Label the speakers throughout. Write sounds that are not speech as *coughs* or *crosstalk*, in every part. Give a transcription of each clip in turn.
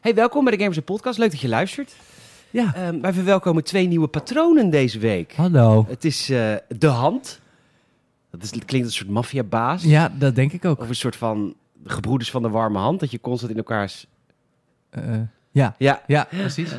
Speaker 1: Hey, welkom bij de Gamers Podcast. Leuk dat je luistert.
Speaker 2: Ja.
Speaker 1: Ehm, wij verwelkomen twee nieuwe patronen deze week.
Speaker 2: Hallo.
Speaker 1: Het is eh, De Hand. Dat is, klinkt als een soort maffiabaas.
Speaker 2: Ja, dat denk ik ook.
Speaker 1: Of een soort van gebroeders van de warme hand. Dat je constant in elkaars...
Speaker 2: Eh, ja.
Speaker 1: Ja.
Speaker 2: Ja, precies.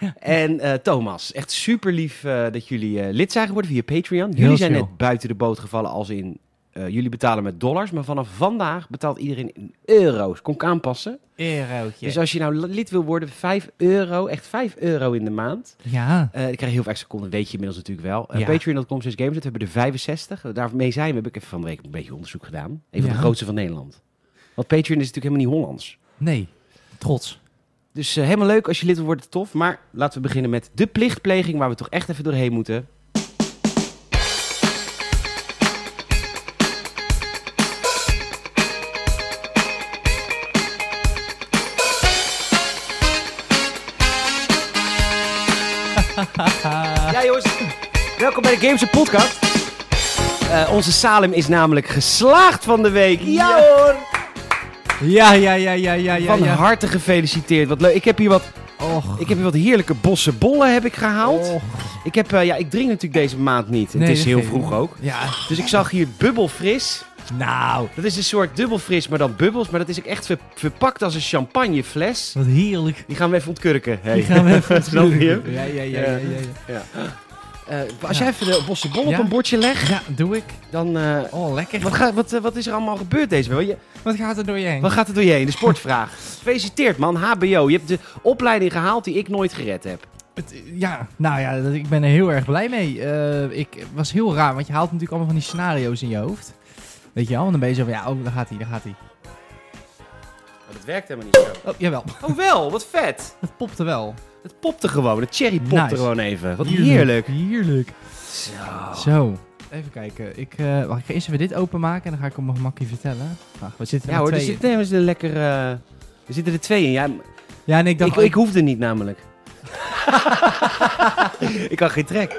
Speaker 2: Ja.
Speaker 1: En eh, Thomas. Echt super lief eh, dat jullie eh, lid zijn geworden via Patreon. Jullie
Speaker 2: Heel
Speaker 1: zijn
Speaker 2: chill.
Speaker 1: net buiten de boot gevallen als in... eh, jullie betalen met dollars, maar vanaf vandaag betaalt iedereen in euro's. Kom ik aanpassen.
Speaker 3: Eurootje.
Speaker 1: Dus als je nou lid wil worden, 5 euro, echt 5 euro in de maand.
Speaker 2: Ja.
Speaker 1: Eh ik krijg heel veel extra content, weet je inmiddels natuurlijk wel. Eh
Speaker 2: Ja.
Speaker 1: Patreon.com slash gamers, we hebben er 65. Daarmee zijn we, heb ik even van de week een beetje onderzoek gedaan. Een van
Speaker 2: Ja.
Speaker 1: de grootste van Nederland. Want Patreon is natuurlijk helemaal niet Hollands.
Speaker 2: Nee. Trots.
Speaker 1: Dus eh, helemaal leuk, als je lid wil worden, tof. Maar laten we beginnen met de plichtpleging, waar we toch echt even doorheen moeten. *laughs* Ja jongens, welkom bij de Games Podcast. Eh, onze Salem is namelijk geslaagd van de week. Ja hoor!
Speaker 2: Ja, ja, ja, ja, ja, ja.
Speaker 1: Van
Speaker 2: ja.
Speaker 1: harte gefeliciteerd. Wat leuk. Ik heb hier wat
Speaker 2: Och.
Speaker 1: ik heb hier wat heerlijke bosse bollen heb ik gehaald.
Speaker 2: Och.
Speaker 1: Ik, heb, eh, ja, ik drink natuurlijk deze maand niet.
Speaker 2: Oh. Nee,
Speaker 1: het is
Speaker 2: dat
Speaker 1: heel
Speaker 2: geeft
Speaker 1: vroeg
Speaker 2: niet.
Speaker 1: ook.
Speaker 2: Ja.
Speaker 1: Dus ik zag hier bubbelfris.
Speaker 2: Nou,
Speaker 1: Dat is een soort dubbelfris, maar dan bubbels. Maar dat is ook echt ver- verpakt als een champagnefles.
Speaker 2: wat heerlijk.
Speaker 1: Die gaan we even ontkurken. Hey.
Speaker 2: Die gaan
Speaker 1: *laughs*
Speaker 2: we even
Speaker 1: Snap je?
Speaker 2: Ja, ja, ja, ja, ja. ja.
Speaker 1: Eh, als jij even de bosse bol op
Speaker 2: Ja.
Speaker 1: een bordje legt,
Speaker 2: Ja, doe ik.
Speaker 1: dan... eh,
Speaker 2: Oh, lekker.
Speaker 1: wat, ga- wat, eh, wat is er allemaal gebeurd deze week? Wat je-
Speaker 2: Wat gaat er door je heen?
Speaker 1: Wat gaat er door je heen? De
Speaker 2: *laughs*
Speaker 1: sportvraag. Gefeliciteerd man, HBO. Je hebt de opleiding gehaald die ik nooit gered heb.
Speaker 2: Het- ja, nou ja, dat- ik ben er heel erg blij mee. Eh, ik het was heel raar, want je haalt natuurlijk allemaal van die scenario's in je hoofd. Weet je wel, en dan ben je zo van, ja, oh, daar gaat hij, daar gaat hij.
Speaker 1: Maar dat werkt helemaal niet zo.
Speaker 2: Oh, jawel. *laughs*
Speaker 1: Oh wel, wat vet.
Speaker 2: Het popte wel.
Speaker 1: Het popte gewoon. De cherry popte
Speaker 2: Nice.
Speaker 1: gewoon even. Wat heerlijk. Oh.
Speaker 2: Heerlijk.
Speaker 1: Zo.
Speaker 2: Zo, even kijken. Ik, eh, wacht, ik ga eerst even dit openmaken en dan ga ik op mijn gemakje vertellen. Wacht, we zitten
Speaker 1: Ja
Speaker 2: er met
Speaker 1: hoor, er
Speaker 2: tweeën.
Speaker 1: zitten, nee, er zitten lekker... eh, er zitten er twee in. Ja,
Speaker 2: Ja, en ik dacht...
Speaker 1: ik, ik hoefde niet namelijk. *laughs* ik had geen trek.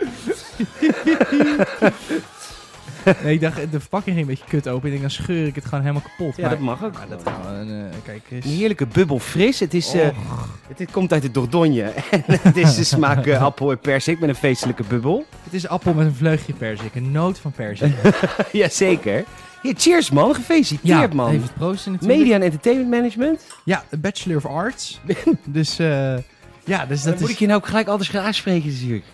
Speaker 2: nee, ik dacht, de verpakking ging een beetje kut open. Ik denk, dan scheur ik het gewoon helemaal kapot.
Speaker 1: Ja, Ah,
Speaker 2: maar,
Speaker 1: dat mag ook.
Speaker 2: maar dat gaan we, eh, kijk eens.
Speaker 1: Een heerlijke bubbel fris. Het, is, eh,
Speaker 2: Och,
Speaker 1: het, het komt uit de Dordogne. *laughs* En het is de smaak eh, appel en persik met een feestelijke bubbel.
Speaker 2: het is appel met een vleugje perzik. Een noot van perzik.
Speaker 1: *laughs* Jazeker. Hier, cheers man. Gefeliciteerd man.
Speaker 2: David Proosten natuurlijk.
Speaker 1: Media en entertainment management.
Speaker 2: Ja, een Bachelor of Arts.
Speaker 1: *laughs*
Speaker 2: dus eh, ja, dus
Speaker 1: Dan
Speaker 2: dat
Speaker 1: moet
Speaker 2: is...
Speaker 1: ik je nou ook gelijk alles gaan aanspreken natuurlijk.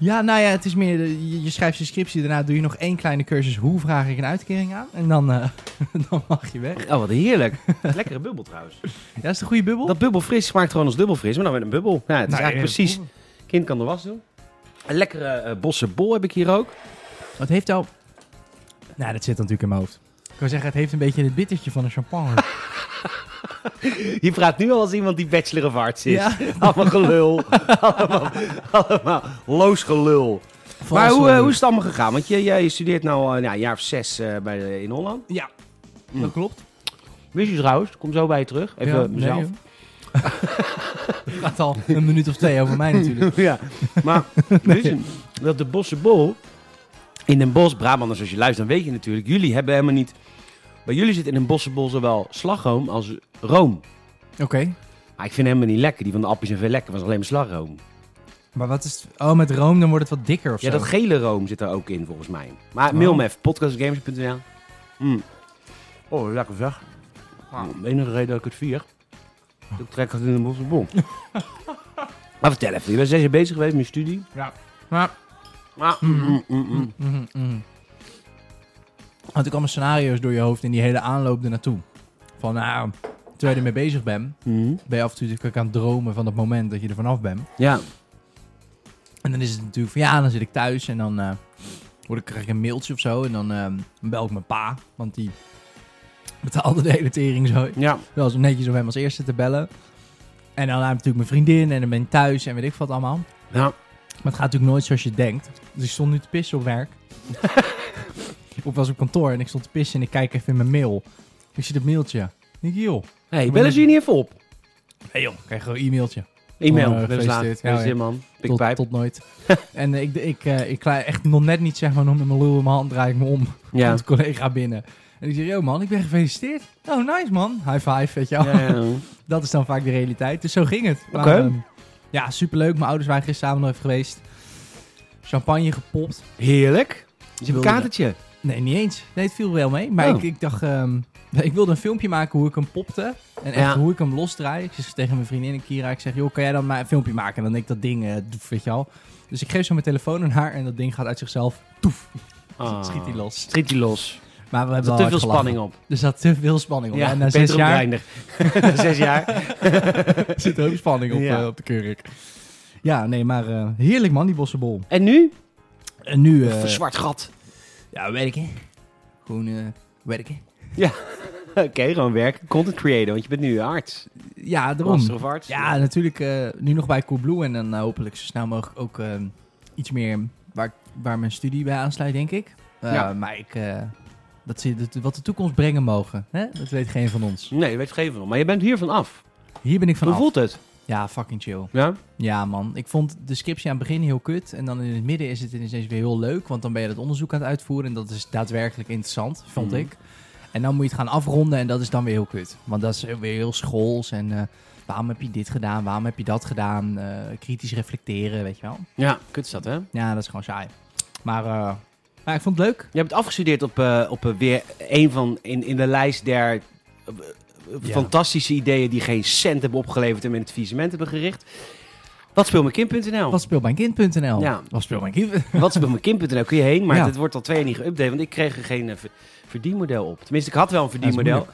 Speaker 2: Ja, nou ja, het is meer, de- je, je schrijft je scriptie, daarna doe je nog één kleine cursus. Hoe vraag ik een uitkering aan? En dan, eh, *laughs* dan mag je weg.
Speaker 1: Oh, wat heerlijk. *laughs* Lekkere bubbel trouwens.
Speaker 2: Ja, is de goede bubbel?
Speaker 1: Dat bubbelfris smaakt gewoon als dubbelfris, maar dan met een bubbel. Ja, het is
Speaker 2: Nou,
Speaker 1: eigenlijk
Speaker 2: eh,
Speaker 1: precies. Kind kan de was doen. Een lekkere eh bosse bol heb ik hier ook.
Speaker 2: Wat heeft jou... Nou, dat zit natuurlijk in mijn hoofd. Ik wil zeggen, het heeft een beetje het bittertje van een *laughs* champagne.
Speaker 1: Je praat nu al als iemand die bachelor of arts is.
Speaker 2: Ja.
Speaker 1: *laughs* Allemaal gelul. *laughs* allemaal, allemaal loos gelul. maar hoe, eh, hoe is het allemaal gegaan? Want je, je, je studeert nu al een jaar of zes eh, bij de- in Holland.
Speaker 2: Ja,
Speaker 1: Mm.
Speaker 2: dat klopt.
Speaker 1: Wist je trouwens, kom zo bij je terug. Even
Speaker 2: ja,
Speaker 1: mezelf.
Speaker 2: nee, *laughs* joh. Het gaat al een minuut of twee over mij
Speaker 1: *laughs*
Speaker 2: natuurlijk.
Speaker 1: ja, maar wist je dat de Bosse Bol in Den Bosch, Brabanders, als je luistert, dan weet je natuurlijk, jullie hebben helemaal niet... Bij jullie zit in een Bosse Bol zowel slagroom als room.
Speaker 2: *laughs* Oké,
Speaker 1: Maar ik vind hem helemaal niet lekker. Die van de appjes en veel lekker was alleen maar slagroom.
Speaker 2: maar wat is... het- Oh, met room dan wordt het wat dikker of
Speaker 1: Ja,
Speaker 2: zo.
Speaker 1: dat gele room zit er ook in volgens mij. Maar
Speaker 2: Oh.
Speaker 1: mail me even, podcastgames.nl. Mm. Oh, lekker zeg. Mm, de enige reden dat ik het vier. dat Ik trek het in de Bosse *laughs* Bol. maar vertel even, je bent zes jaar bezig geweest met je studie.
Speaker 2: Ja. Maar
Speaker 1: Maar, mm, mm, mm, mm.
Speaker 2: Mhm, mhm. Had ik allemaal scenario's door je hoofd in die hele aanloop ernaartoe. Van nou, terwijl je ermee bezig bent,
Speaker 1: Mm.
Speaker 2: ben je af en toe natuurlijk ook aan het dromen van dat moment dat je er vanaf bent.
Speaker 1: Ja.
Speaker 2: En dan is het natuurlijk van ja, dan zit ik thuis en dan eh, word ik, krijg ik een mailtje of zo. En dan eh, bel ik mijn pa, want die *laughs* betaalde de hele tering zo.
Speaker 1: Ja,
Speaker 2: Wel zo netjes om hem als eerste te bellen. En dan heb ik natuurlijk mijn vriendin en dan ben ik thuis en weet ik wat allemaal.
Speaker 1: ja.
Speaker 2: Maar het gaat natuurlijk nooit zoals je denkt. Dus ik stond nu te pissen op werk. of was op kantoor en ik stond te pissen en ik kijk even in mijn mail. Ik zie dat mailtje. Ik denk, joh.
Speaker 1: hey, bellen ze je niet even op?
Speaker 2: Hey joh. Ik krijg gewoon een e-mailtje.
Speaker 1: E-mail.
Speaker 2: Oh,
Speaker 1: dat is laat.
Speaker 2: gefeliciteerd. Ja,
Speaker 1: Dat is
Speaker 2: ja.
Speaker 1: in, man.
Speaker 2: Tot,
Speaker 1: Pikpijp.
Speaker 2: tot nooit. *laughs* en eh, ik, ik, eh, ik klaar echt nog net niet, zeg maar, nog *laughs* met mijn lul in mijn hand draai ik me om.
Speaker 1: Ja.
Speaker 2: Komt een collega binnen. En ik zeg, yo man, ik ben gefeliciteerd. Oh, nice man. High five, weet je wel.
Speaker 1: Ja, ja.
Speaker 2: *laughs* Dat is dan vaak de realiteit. Dus zo ging het.
Speaker 1: Oké.
Speaker 2: Maar, ehm, ja, superleuk. Mijn ouders waren gisteren samen nog even geweest. Champagne gepopt.
Speaker 1: Heerlijk. Je hebt
Speaker 2: Wilde-
Speaker 1: een katertje.
Speaker 2: Nee, niet eens. Nee, het viel wel mee. Maar
Speaker 1: Oh.
Speaker 2: ik, ik dacht, ehm, *laughs* ik wilde een filmpje maken hoe ik hem popte. En echt
Speaker 1: Ja.
Speaker 2: hoe ik hem losdraai. Ik zeg tegen mijn vriendin en Kira, ik zeg, joh, kan jij dan maar een filmpje maken? En dan denk ik dat ding, eh, doef, weet je al. Dus ik geef zo mijn telefoon aan haar en dat ding gaat uit zichzelf, toef,
Speaker 1: Ah.
Speaker 2: schiet hij los.
Speaker 1: Schiet die los.
Speaker 2: Maar we
Speaker 1: Er
Speaker 2: hebben
Speaker 1: zat
Speaker 2: wel
Speaker 1: te
Speaker 2: hard
Speaker 1: veel
Speaker 2: gelachen.
Speaker 1: spanning op.
Speaker 2: Er zat te veel spanning op.
Speaker 1: Ja,
Speaker 2: en na
Speaker 1: Peter
Speaker 2: zes
Speaker 1: op
Speaker 2: jaar
Speaker 1: Reinder.
Speaker 2: *laughs*
Speaker 1: zes *laughs* jaar.
Speaker 2: zit er ook spanning op,
Speaker 1: Ja.
Speaker 2: eh, op de kurk. Ja, nee, maar eh, heerlijk man, die bossenbol.
Speaker 1: En nu?
Speaker 2: En nu... eh,
Speaker 1: Een zwart gat. *laughs*
Speaker 2: ja, werken. Gewoon eh, werken.
Speaker 1: Oké, gewoon werken. Content creator, want je bent nu arts.
Speaker 2: Ja, daarom.
Speaker 1: Master of arts.
Speaker 2: Ja, natuurlijk eh, nu nog bij Coolblue en dan eh, hopelijk zo snel mogelijk ook eh, iets meer waar, waar mijn studie bij aansluit, denk ik. Eh,
Speaker 1: Ja.
Speaker 2: Maar ik, eh, dat zie, dat, wat de toekomst brengen mogen, hè? dat weet geen van ons.
Speaker 1: Nee, je weet geen van. Maar je bent hier vanaf.
Speaker 2: Hier ben ik
Speaker 1: Hoe
Speaker 2: vanaf.
Speaker 1: voelt het?
Speaker 2: Ja, fucking chill.
Speaker 1: Ja?
Speaker 2: Ja man, ik vond de scriptie aan het begin heel kut en dan in het midden is het ineens weer heel leuk, want dan ben je dat onderzoek aan het uitvoeren en dat is daadwerkelijk interessant, vond
Speaker 1: Mhm.
Speaker 2: ik. En dan moet je het gaan afronden en dat is dan weer heel kut, want dat is weer heel schools en eh, waarom heb je dit gedaan, waarom heb je dat gedaan, Eh, kritisch reflecteren, weet je wel.
Speaker 1: Ja, kut is dat, hè?
Speaker 2: Ja, dat is gewoon saai. Maar, eh, maar ik vond het leuk.
Speaker 1: Je hebt afgestudeerd op, eh, op eh, weer een van in, in de lijst der eh, eh,
Speaker 2: Ja.
Speaker 1: fantastische ideeën die geen cent hebben opgeleverd en met het faillissement hebben gericht. Wat speelt mijn kind.nl?
Speaker 2: Wat speelt mijn kind.nl?
Speaker 1: Oh. Ja.
Speaker 2: Wat speelt mijn kind?
Speaker 1: Wat speelt mijn kind.nl? Kun je heen, maar
Speaker 2: Ja.
Speaker 1: het wordt al twee jaar niet geüpdate, want ik kreeg er geen eh, ver- verdienmodel op. Tenminste, ik had wel een verdienmodel.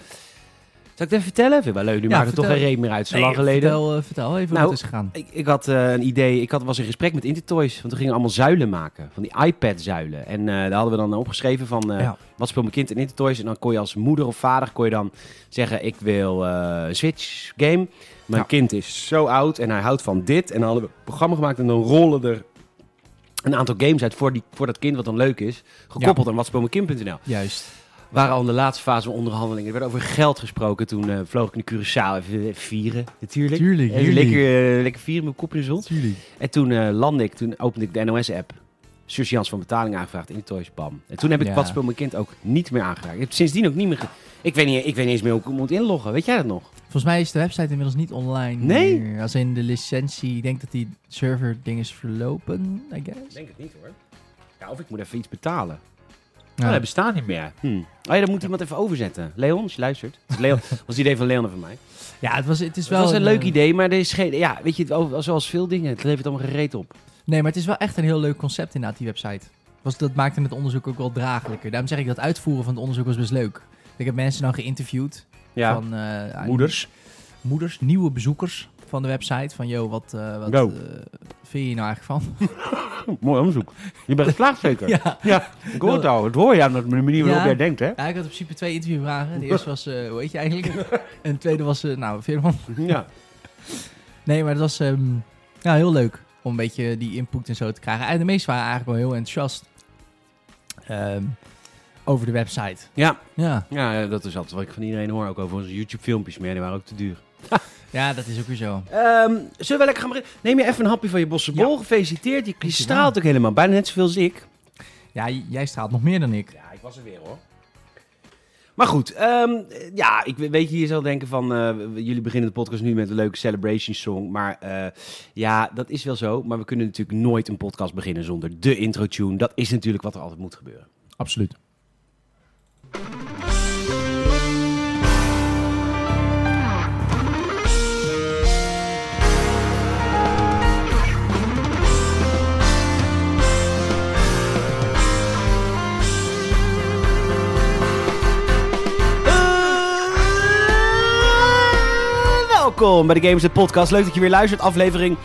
Speaker 1: Zal ik het even vertellen? Vind ik wel leuk, nu
Speaker 2: Ja,
Speaker 1: maakt het toch
Speaker 2: vertel.
Speaker 1: geen reet meer uit. Zo lang
Speaker 2: Nee,
Speaker 1: geleden.
Speaker 2: Vertel, eh, vertel even
Speaker 1: Nou,
Speaker 2: hoe het is gegaan.
Speaker 1: Ik, ik had eh, een idee, ik had, was in gesprek met Intertoys, want we gingen allemaal zuilen maken, van die iPad-zuilen. En eh, daar hadden we dan opgeschreven van, eh,
Speaker 2: Ja.
Speaker 1: wat speelt mijn kind in Intertoys? En dan kon je als moeder of vader kon je dan zeggen, ik wil eh, een Switch-game. Mijn
Speaker 2: Ja.
Speaker 1: kind is zo oud en hij houdt van dit. En dan hadden we een programma gemaakt en dan rollen er een aantal games uit voor, die, voor dat kind, wat dan leuk is. Gekoppeld aan watspeelmijnkind.nl.
Speaker 2: Juist.
Speaker 1: We waren al in de laatste fase van onderhandelingen. Er werd over geld gesproken. Toen eh, vloog ik naar Curaçao even eh, vieren, natuurlijk.
Speaker 2: Tuurlijk,
Speaker 1: Eh,
Speaker 2: jullie.
Speaker 1: lekker, eh, lekker vieren met mijn kopje in de zon. En toen eh, landde ik, toen opende ik de NOS-app. Surgeance van betaling aangevraagd in de Toys Bam. En toen heb ik
Speaker 2: Ja.
Speaker 1: Wat speelt mijn kind ook niet meer aangeraakt. Ik heb sindsdien ook niet meer... ge- ik, weet niet, ik weet niet eens meer hoe ik moet inloggen. Weet jij dat nog?
Speaker 2: Volgens mij is de website inmiddels niet online.
Speaker 1: Nee?
Speaker 2: meer. Als in de licentie. Ik denk dat die server ding is verlopen, I guess.
Speaker 1: denk het niet hoor. Ja, of ik moet even iets betalen.
Speaker 2: Ja.
Speaker 1: Oh, dat bestaat niet meer. Hm. Oh ja, dat moet iemand even overzetten. Leon, als je luistert. Dat is
Speaker 2: *laughs*
Speaker 1: Leon, dat was het idee van Leon en van mij.
Speaker 2: Ja, het was, het is
Speaker 1: Het
Speaker 2: wel
Speaker 1: was een leuk
Speaker 2: eh,
Speaker 1: idee, maar er is geen... Ja, weet je, het- over- zoals veel dingen, het levert allemaal gereed op.
Speaker 2: eh, Nee, maar het is wel echt een heel leuk concept inderdaad, die website. Was, dat maakte het onderzoek ook wel draaglijker. Daarom zeg ik dat uitvoeren van het onderzoek was best leuk. Ik heb mensen dan geïnterviewd. Van, eh, moeders, nieuwe bezoekers van de website. Van, yo, wat, eh, wat
Speaker 1: Yo.
Speaker 2: eh, vind je hier nou eigenlijk
Speaker 1: *laughs*
Speaker 2: van?
Speaker 1: Hm, Mooi onderzoek. Je
Speaker 2: *laughs*
Speaker 1: bent geslaagd zeker?
Speaker 2: ja.
Speaker 1: Ik hoor het al. Het hoor je aan de manier waarop
Speaker 2: Ja.
Speaker 1: jij denkt, hè?
Speaker 2: ja, ik had in principe twee interviewvragen. De eerste was, eh, hoe heet je eigenlijk?
Speaker 1: *laughs*
Speaker 2: en de tweede was, eh, nou, wat vind je ervan?
Speaker 1: Ja.
Speaker 2: Nee, maar dat was ehm, ja, heel leuk om een beetje die input en zo te krijgen. En de meesten waren eigenlijk wel heel enthousiast ehm, over de website.
Speaker 1: Ja.
Speaker 2: Ja.
Speaker 1: Ja, dat is altijd wat ik van iedereen hoor. Ook over onze YouTube-filmpjes, maar ja, die waren ook te duur.
Speaker 2: ja, dat is ook weer zo.
Speaker 1: Ehm, zullen we lekker gaan beginnen? Neem je even een hapje van je bossenbol. Gefeliciteerd. Je, je straalt ook helemaal. Bijna net zoveel als ik.
Speaker 2: Ja, j- jij straalt nog meer dan ik.
Speaker 1: Ja, ik was er weer hoor. Maar goed, ehm, ja, ik we- weet je, je zal denken van, eh, we- jullie beginnen de podcast nu met een leuke celebration song, maar eh, ja, dat is wel zo, maar we kunnen natuurlijk nooit een podcast beginnen zonder de intro tune. Dat is natuurlijk wat er altijd moet gebeuren.
Speaker 2: Absoluut.
Speaker 1: Eh, Welkom bij de Gamers Net Podcast. Leuk dat je weer luistert. Aflevering,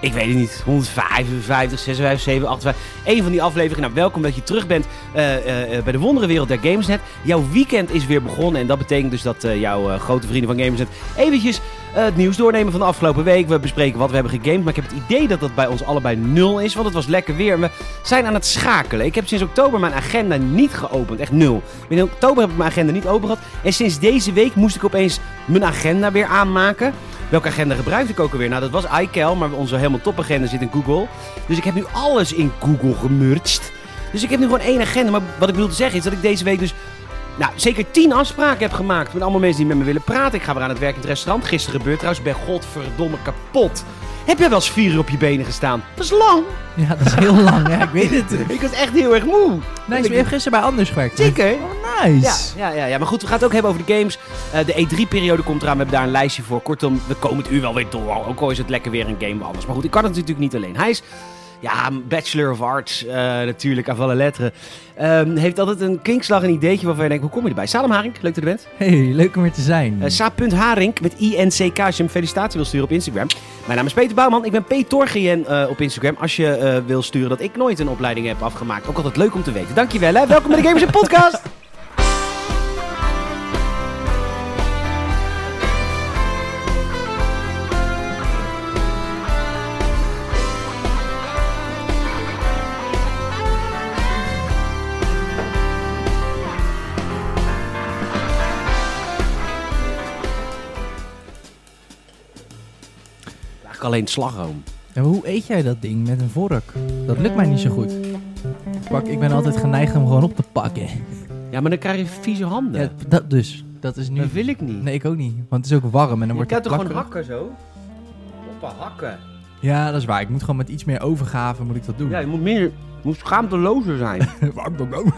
Speaker 1: ik weet het niet, 155, 56, 57, 58. Een van die afleveringen. Nou, welkom dat je terug bent eh, eh, eh, bij de wonderenwereld der Gamersnet. Jouw weekend is weer begonnen. En dat betekent dus dat eh, jouw eh, grote vrienden van Gamersnet eventjes eh, het nieuws doornemen van de afgelopen week. We bespreken wat we hebben gegamed. Maar ik heb het idee dat dat bij ons allebei nul is. Want het was lekker weer. En we zijn aan het schakelen. Ik heb sinds oktober mijn agenda niet geopend. Echt nul. In oktober heb ik mijn agenda niet open gehad. En sinds deze week moest ik opeens mijn agenda weer aanmaken. Welke agenda gebruikte ik ook alweer? Nou, dat was iCal, maar onze helemaal topagenda zit in Google. Dus ik heb nu alles in Google gemurcht. Dus ik heb nu gewoon één agenda. Maar wat ik bedoel te zeggen is dat ik deze week dus Nou, zeker tien afspraken heb gemaakt met allemaal mensen die met me willen praten. Ik ga weer aan het werk in het restaurant. Gisteren gebeurd trouwens, ik ben godverdomme kapot. Heb jij wel eens vier uur op je benen gestaan? Dat is lang.
Speaker 2: Ja, dat is heel
Speaker 1: *laughs*
Speaker 2: lang. Ja, ik weet het.
Speaker 1: Ik was echt heel erg moe.
Speaker 2: Nice, maar je hebt gisteren bij Anders gewerkt. hè?
Speaker 1: Zeker.
Speaker 2: Oh, nice.
Speaker 1: Ja, ja, ja, ja, maar goed, we gaan het ook hebben over de games. Eh, de E3-periode komt eraan, we hebben daar een lijstje voor. Kortom, we komen het uur wel weer door. Ook al is het lekker weer een game anders. Maar goed, ik kan het natuurlijk niet alleen. Hij is, ja, Bachelor of Arts, eh, natuurlijk, af alle letteren. Ehm, heeft altijd een kinkslag, een ideetje waarvan je denkt, hoe kom je erbij? Salem Haring, leuk dat je er bent.
Speaker 2: Hey, leuk om weer te zijn.
Speaker 1: Eh Saap.haring met INCK als je hem felicitatie wil sturen op Instagram. Mijn naam is Peter Bouwman, ik ben P. Torgien eh, op Instagram. Als je eh, wil sturen dat ik nooit een opleiding heb afgemaakt. Ook altijd leuk om te weten. Dankjewel hè, welkom bij de Gamers in Podcast. Eigenlijk alleen slagroom.
Speaker 2: En hoe eet jij dat ding met een vork? Dat lukt mij niet zo goed. Pak, ik ben altijd geneigd om gewoon op te pakken.
Speaker 1: Ja, maar dan krijg je vieze handen.
Speaker 2: Ja, dat dus. Dat is nu...
Speaker 1: dat wil ik niet.
Speaker 2: Nee, ik ook niet. Want het is ook warm en dan
Speaker 1: je
Speaker 2: wordt
Speaker 1: kan
Speaker 2: het
Speaker 1: toch gewoon
Speaker 2: plakkerig.
Speaker 1: hakken zo? Hoppa, hakken.
Speaker 2: Ja, dat is waar. Ik moet gewoon met iets meer overgave moet ik dat doen.
Speaker 1: Ja, je
Speaker 2: *laughs*
Speaker 1: moet meer... Je moet schaamtelozer *laughs* zijn.
Speaker 2: Waarom dan *laughs* ook?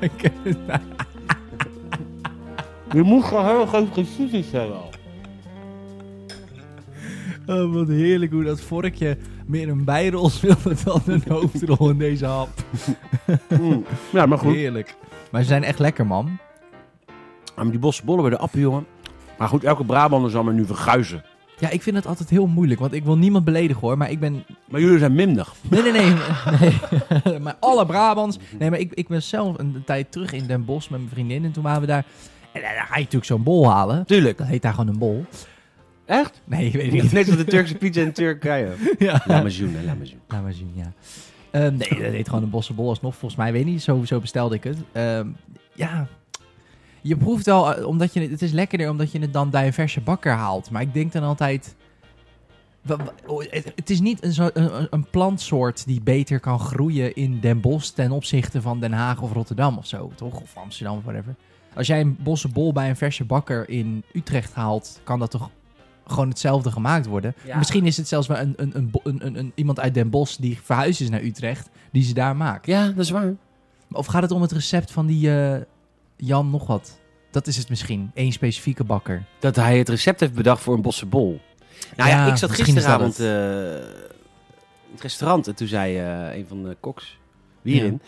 Speaker 2: Kijk, nou,
Speaker 1: je moet gewoon heel groot precies zijn wel.
Speaker 2: oh, wat heerlijk hoe dat vorkje meer een bijrol *laughs* speelde dan een hoofdrol in deze hap.
Speaker 1: Ja, maar goed.
Speaker 2: Heerlijk. Maar ze zijn echt lekker, man.
Speaker 1: Ja, maar die bosse bollen bij de appen, jongen. Maar goed, elke Brabander zal me nu verguizen.
Speaker 2: Ja, ik vind het altijd heel moeilijk, want ik wil niemand beledigen hoor, maar ik ben...
Speaker 1: Maar jullie zijn minder.
Speaker 2: Nee, nee, nee. *laughs* nee. *laughs* maar alle Brabants... Nee, maar ik, ik ben zelf een tijd terug in Den Bosch met mijn vriendin en toen waren we daar... En dan ga je natuurlijk zo'n bol halen.
Speaker 1: Tuurlijk.
Speaker 2: Dat heet daar gewoon een bol.
Speaker 1: Echt?
Speaker 2: Nee, ik weet het niet. *laughs*
Speaker 1: Net als de Turkse pizza in Turkije.
Speaker 2: Ja.
Speaker 1: Laat maar zoenen, laat maar zoenen.
Speaker 2: Laat Nou, maar zien, ja. Ehm, nee, dat heet gewoon een bossenbol alsnog. Volgens mij, weet niet, zo, zo bestelde ik het. Ehm, ja, je proeft wel, eh, omdat je, het- het is lekkerder omdat je het dan bij een verse bakker haalt. Maar ik denk dan altijd... wa- wa- oh, Het het is niet een, zo- een, een- een plantsoort die beter kan groeien in Den Bosch ten opzichte van Den Haag of Rotterdam of zo, toch? Of Amsterdam of whatever. Als jij een bossenbol bij een verse bakker in Utrecht haalt, kan dat toch gewoon hetzelfde gemaakt worden?
Speaker 1: Ja.
Speaker 2: Misschien is het zelfs wel een, een, een, bo- een, een, een- iemand uit Den Bosch die verhuisd is naar Utrecht, die ze daar maakt.
Speaker 1: Ja, dat is waar.
Speaker 2: Of gaat het om het recept van die eh, Jan nog wat? Dat is het misschien, één specifieke bakker.
Speaker 1: Dat hij het recept heeft bedacht voor een bosse bol. Nou ja,
Speaker 2: Ja,
Speaker 1: ik zat
Speaker 2: misschien is dat
Speaker 1: gisteravond eh, in het restaurant en toen zei eh, een van de koks, Wierin,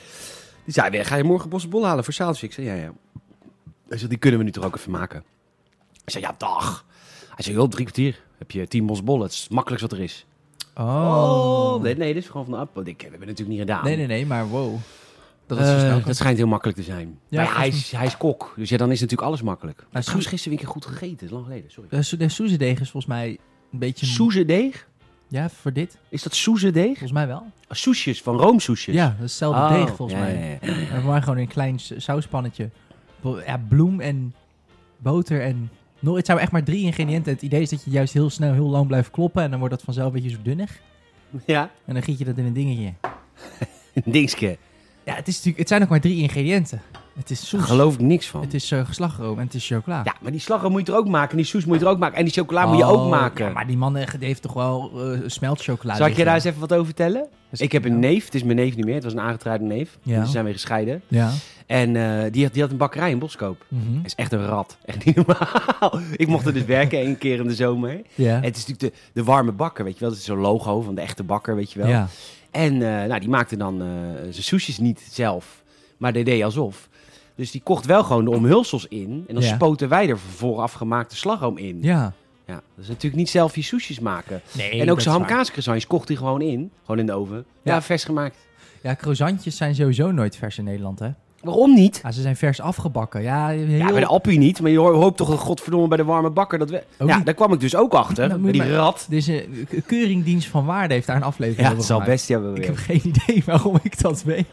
Speaker 1: die zei, "Weer, ga je morgen bosse bol halen voor zaaltje? Ik zei, ja, ja. Hij zei, die kunnen we nu toch ook even maken? Ik zei, ja, dag. Hij zei, joh, drie kwartier heb je tien bosse bollen. Het is het makkelijkste wat er is. Oh. nee, nee, dit is gewoon van de appel. Ik heb het natuurlijk niet gedaan.
Speaker 2: Oh. Nee, nee, nee, maar wow. Dat
Speaker 1: Dat, dus nou,
Speaker 2: is zo snel.
Speaker 1: dat schijnt heel makkelijk te zijn.
Speaker 2: Ja,
Speaker 1: maar ja,
Speaker 2: dat
Speaker 1: hij,
Speaker 2: is-
Speaker 1: is, hij is kok, dus ja, dan is natuurlijk alles makkelijk. Maar
Speaker 2: zo-
Speaker 1: trouwens, gisteren weer een keer goed gegeten, is lang geleden, sorry.
Speaker 2: Eh, so- de soezedeeg is volgens mij een beetje...
Speaker 1: Soezedeeg?
Speaker 2: Ja, voor dit?
Speaker 1: Is dat soezedeeg?
Speaker 2: Volgens mij wel.
Speaker 1: Ah, Soesjes, van roomsoesjes.
Speaker 2: Ja, dat is hetzelfde
Speaker 1: Oh,
Speaker 2: deeg volgens
Speaker 1: ja,
Speaker 2: mij.
Speaker 1: ja, ja.
Speaker 2: Eh, Maar gewoon in een klein s- sauspannetje. Bo- Ja, bloem en boter en... No, het zijn echt maar drie ingrediënten. Het idee is dat je juist heel snel heel lang blijft kloppen. En dan wordt dat vanzelf een beetje zo dunnig.
Speaker 1: *laughs* Ja,
Speaker 2: En dan giet je dat in een dingetje.
Speaker 1: een *laughs* dingske.
Speaker 2: Ja, het, is natuurlijk, het zijn ook maar drie ingrediënten. Het is
Speaker 1: Daar
Speaker 2: soes,
Speaker 1: geloof ik niks van.
Speaker 2: het is eh, slagroom en het is chocola.
Speaker 1: Ja, maar die slagroom moet je er ook maken, en die soes moet je er ook maken, en die chocola moet je ook
Speaker 2: Oh,
Speaker 1: maken.
Speaker 2: ja, maar die man eh, die heeft toch wel eh,
Speaker 1: Zal
Speaker 2: smeltchocola.
Speaker 1: ik je
Speaker 2: liggen?
Speaker 1: daar eens even wat over vertellen?
Speaker 2: Dus-
Speaker 1: Ik heb een neef, het is mijn neef niet meer, het was een aangetrouwde neef.
Speaker 2: Ja.
Speaker 1: Ja. Ze zijn weer gescheiden.
Speaker 2: Ja.
Speaker 1: En eh, die, had, die had een bakkerij in Boskoop.
Speaker 2: Mhm.
Speaker 1: Hij is echt een rat. Echt niet normaal. *laughs* Ik mocht er dus werken één keer in de zomer.
Speaker 2: ja.
Speaker 1: En het is natuurlijk de, de warme bakker, weet je wel. Dat is zo'n logo van de echte bakker, weet je wel.
Speaker 2: Ja.
Speaker 1: En eh, nou, die maakte dan eh, zijn soesjes niet zelf, maar die deed alsof. Dus die kocht wel gewoon de omhulsels in. En dan
Speaker 2: Ja.
Speaker 1: spoten wij er vooraf gemaakte slagroom in. Ja.
Speaker 2: ja.
Speaker 1: dat is natuurlijk niet zelf je soesjes maken.
Speaker 2: Nee,
Speaker 1: en ook zijn
Speaker 2: zo
Speaker 1: hamkaascroissants kocht hij gewoon in. Gewoon in de oven. Ja,
Speaker 2: Ja.
Speaker 1: vers gemaakt.
Speaker 2: Ja, croissantjes zijn sowieso nooit vers in Nederland, hè?
Speaker 1: Waarom niet?
Speaker 2: Ja, ze zijn vers afgebakken. Ja, heel...
Speaker 1: Ja, bij de appie niet. Maar je ho- hoopt toch dat godverdomme bij de warme bakker dat we...
Speaker 2: Ook
Speaker 1: Ja,
Speaker 2: niet.
Speaker 1: daar kwam ik dus ook achter.
Speaker 2: Nou,
Speaker 1: bij
Speaker 2: moet je
Speaker 1: die
Speaker 2: maar-
Speaker 1: rat.
Speaker 2: Er is een k- keuringdienst van waarde heeft daar een aflevering
Speaker 1: Ja,
Speaker 2: over
Speaker 1: het zal
Speaker 2: gemaakt.
Speaker 1: best hebben
Speaker 2: Ik
Speaker 1: weer.
Speaker 2: heb geen idee waarom ik dat weet.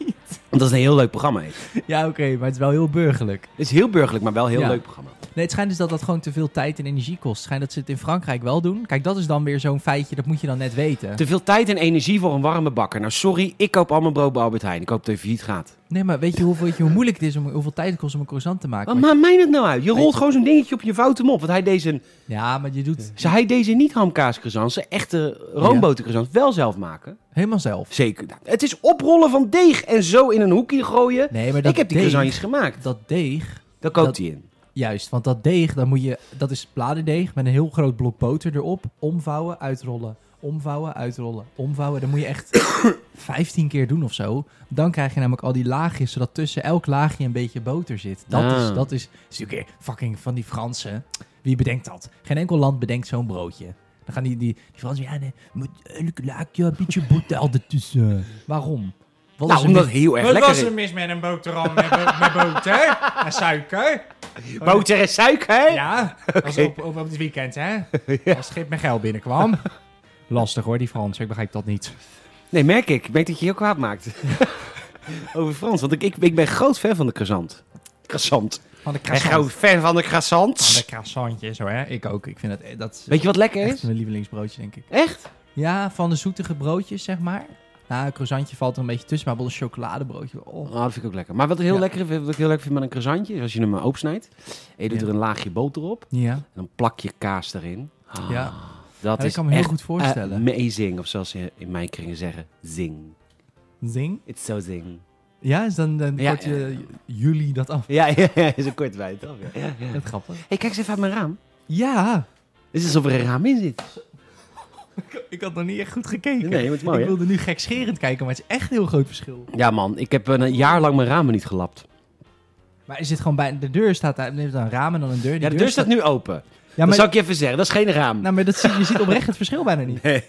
Speaker 1: Omdat het een heel leuk programma is.
Speaker 2: Ja, oké, maar het is wel heel burgerlijk.
Speaker 1: Het is heel burgerlijk, maar wel een heel
Speaker 2: Ja.
Speaker 1: leuk programma.
Speaker 2: Nee, het schijnt dus dat dat gewoon te veel tijd en energie kost. Het schijnt dat ze het in Frankrijk wel doen. Kijk, dat is dan weer zo'n feitje, dat moet je dan net weten.
Speaker 1: Te veel tijd en energie voor een warme bakker. Nou, sorry, ik koop al mijn brood bij Albert Heijn. Ik hoop dat het failliet gaat.
Speaker 2: Nee, maar weet je hoeveel, weet je hoe moeilijk het is, om, hoeveel tijd het kost om een croissant te maken?
Speaker 1: Wat maakt mij dat nou uit? Je rolt gewoon zo'n dingetje op je foute mop. Want hij deed zijn,
Speaker 2: Ja, maar je doet
Speaker 1: ze- hij deed zijn niet hamkaascroissants, zijn echte roombotercroissants, wel zelf maken.
Speaker 2: helemaal zelf.
Speaker 1: Zeker. Nou, Het is oprollen van deeg en zo in een hoekje gooien.
Speaker 2: Nee, maar dat
Speaker 1: ik heb die
Speaker 2: deeg-
Speaker 1: croissantjes gemaakt.
Speaker 2: Dat deeg,
Speaker 1: Daar koopt
Speaker 2: Dat-
Speaker 1: hij in.
Speaker 2: juist, want dat deeg, dan moet je, dat is bladerdeeg met een heel groot blok boter erop. Omvouwen, uitrollen, omvouwen, uitrollen, omvouwen. Dan moet je echt *coughs* 15 keer doen of zo. Dan krijg je namelijk al die laagjes, zodat tussen elk laagje een beetje boter zit. Dat
Speaker 1: Ah.
Speaker 2: is, dat is, is natuurlijk weer fucking van die Fransen. Wie bedenkt dat? Geen enkel land bedenkt zo'n broodje. Dan gaan die, die, die Fransen, ja, nee, moet elk laagje een beetje boter altijd tussen. Waarom? Wat
Speaker 1: Nou,
Speaker 2: is er
Speaker 1: omdat
Speaker 2: mis-
Speaker 1: het heel erg
Speaker 3: Wat
Speaker 1: lekker
Speaker 3: was
Speaker 1: is.
Speaker 3: er mis met een boterham met, bo- met boter *laughs* en suiker?
Speaker 1: Boter en suiker, hè?
Speaker 3: Ja, als op, op, op het weekend, hè?
Speaker 1: *laughs*
Speaker 3: Als Schip met geld binnenkwam. Lastig hoor, die Frans. Ik begrijp dat niet.
Speaker 1: Nee, merk ik. Ik merk dat je heel kwaad maakt. Over Frans, want ik, ik, ik ben groot fan van de croissant. Croissant.
Speaker 3: Van de
Speaker 1: Ik ben groot
Speaker 3: croissant.
Speaker 1: fan van de
Speaker 3: Van
Speaker 1: croissant.
Speaker 3: de croissantje, zo hè? Ik ook. Ik vind dat... dat is
Speaker 1: Weet je wat lekker
Speaker 2: Echt
Speaker 1: is?
Speaker 2: mijn lievelingsbroodje, denk ik.
Speaker 1: Echt?
Speaker 2: Ja, van de zoetige broodjes, zeg maar. Nou, een croissantje valt er een beetje tussen, maar wel een chocoladebroodje. Oh.
Speaker 1: Oh, dat vind ik ook lekker. Maar wat, heel
Speaker 2: Ja.
Speaker 1: lekker, wat ik heel lekker vind met een croissantje, is als je hem maar opsnijdt. En je doet
Speaker 2: Ja.
Speaker 1: er een laagje boter op.
Speaker 2: Ja,
Speaker 1: En dan plak je kaas erin. Ah,
Speaker 2: ja.
Speaker 1: dat
Speaker 2: Ja,
Speaker 1: is
Speaker 2: ik kan me heel
Speaker 1: echt
Speaker 2: goed voorstellen.
Speaker 1: amazing. Of zoals ze in mijn kringen zeggen, zing.
Speaker 2: Zing?
Speaker 1: It's so zing.
Speaker 2: Ja, is dan, dan
Speaker 1: Ja,
Speaker 2: kort je
Speaker 1: ja, ja.
Speaker 2: jullie dat af.
Speaker 1: Ja, *laughs* ja, ja, is een kort bij het af, ja. Ja, ja.
Speaker 2: Dat is grappig.
Speaker 1: hey, kijk eens even uit mijn raam.
Speaker 2: Ja,
Speaker 1: Het is alsof er een raam in zit.
Speaker 2: ik had nog niet echt goed gekeken.
Speaker 1: Nee, maar het is mooi,
Speaker 2: ik
Speaker 1: hè?
Speaker 2: wilde nu gekscherend kijken, maar het is echt een heel groot verschil.
Speaker 1: Ja, man. Ik heb een jaar lang mijn ramen niet gelapt.
Speaker 2: Maar is het gewoon bij de deur staat daar, neemt dan een raam en dan een deur. Die
Speaker 1: Ja, de deur staat nu open.
Speaker 2: Ja,
Speaker 1: Dat
Speaker 2: maar,
Speaker 1: zal ik je even zeggen. Dat is geen raam.
Speaker 2: nou, maar dat zie, je ziet oprecht het verschil bijna
Speaker 1: *laughs*
Speaker 2: niet.
Speaker 1: Nee.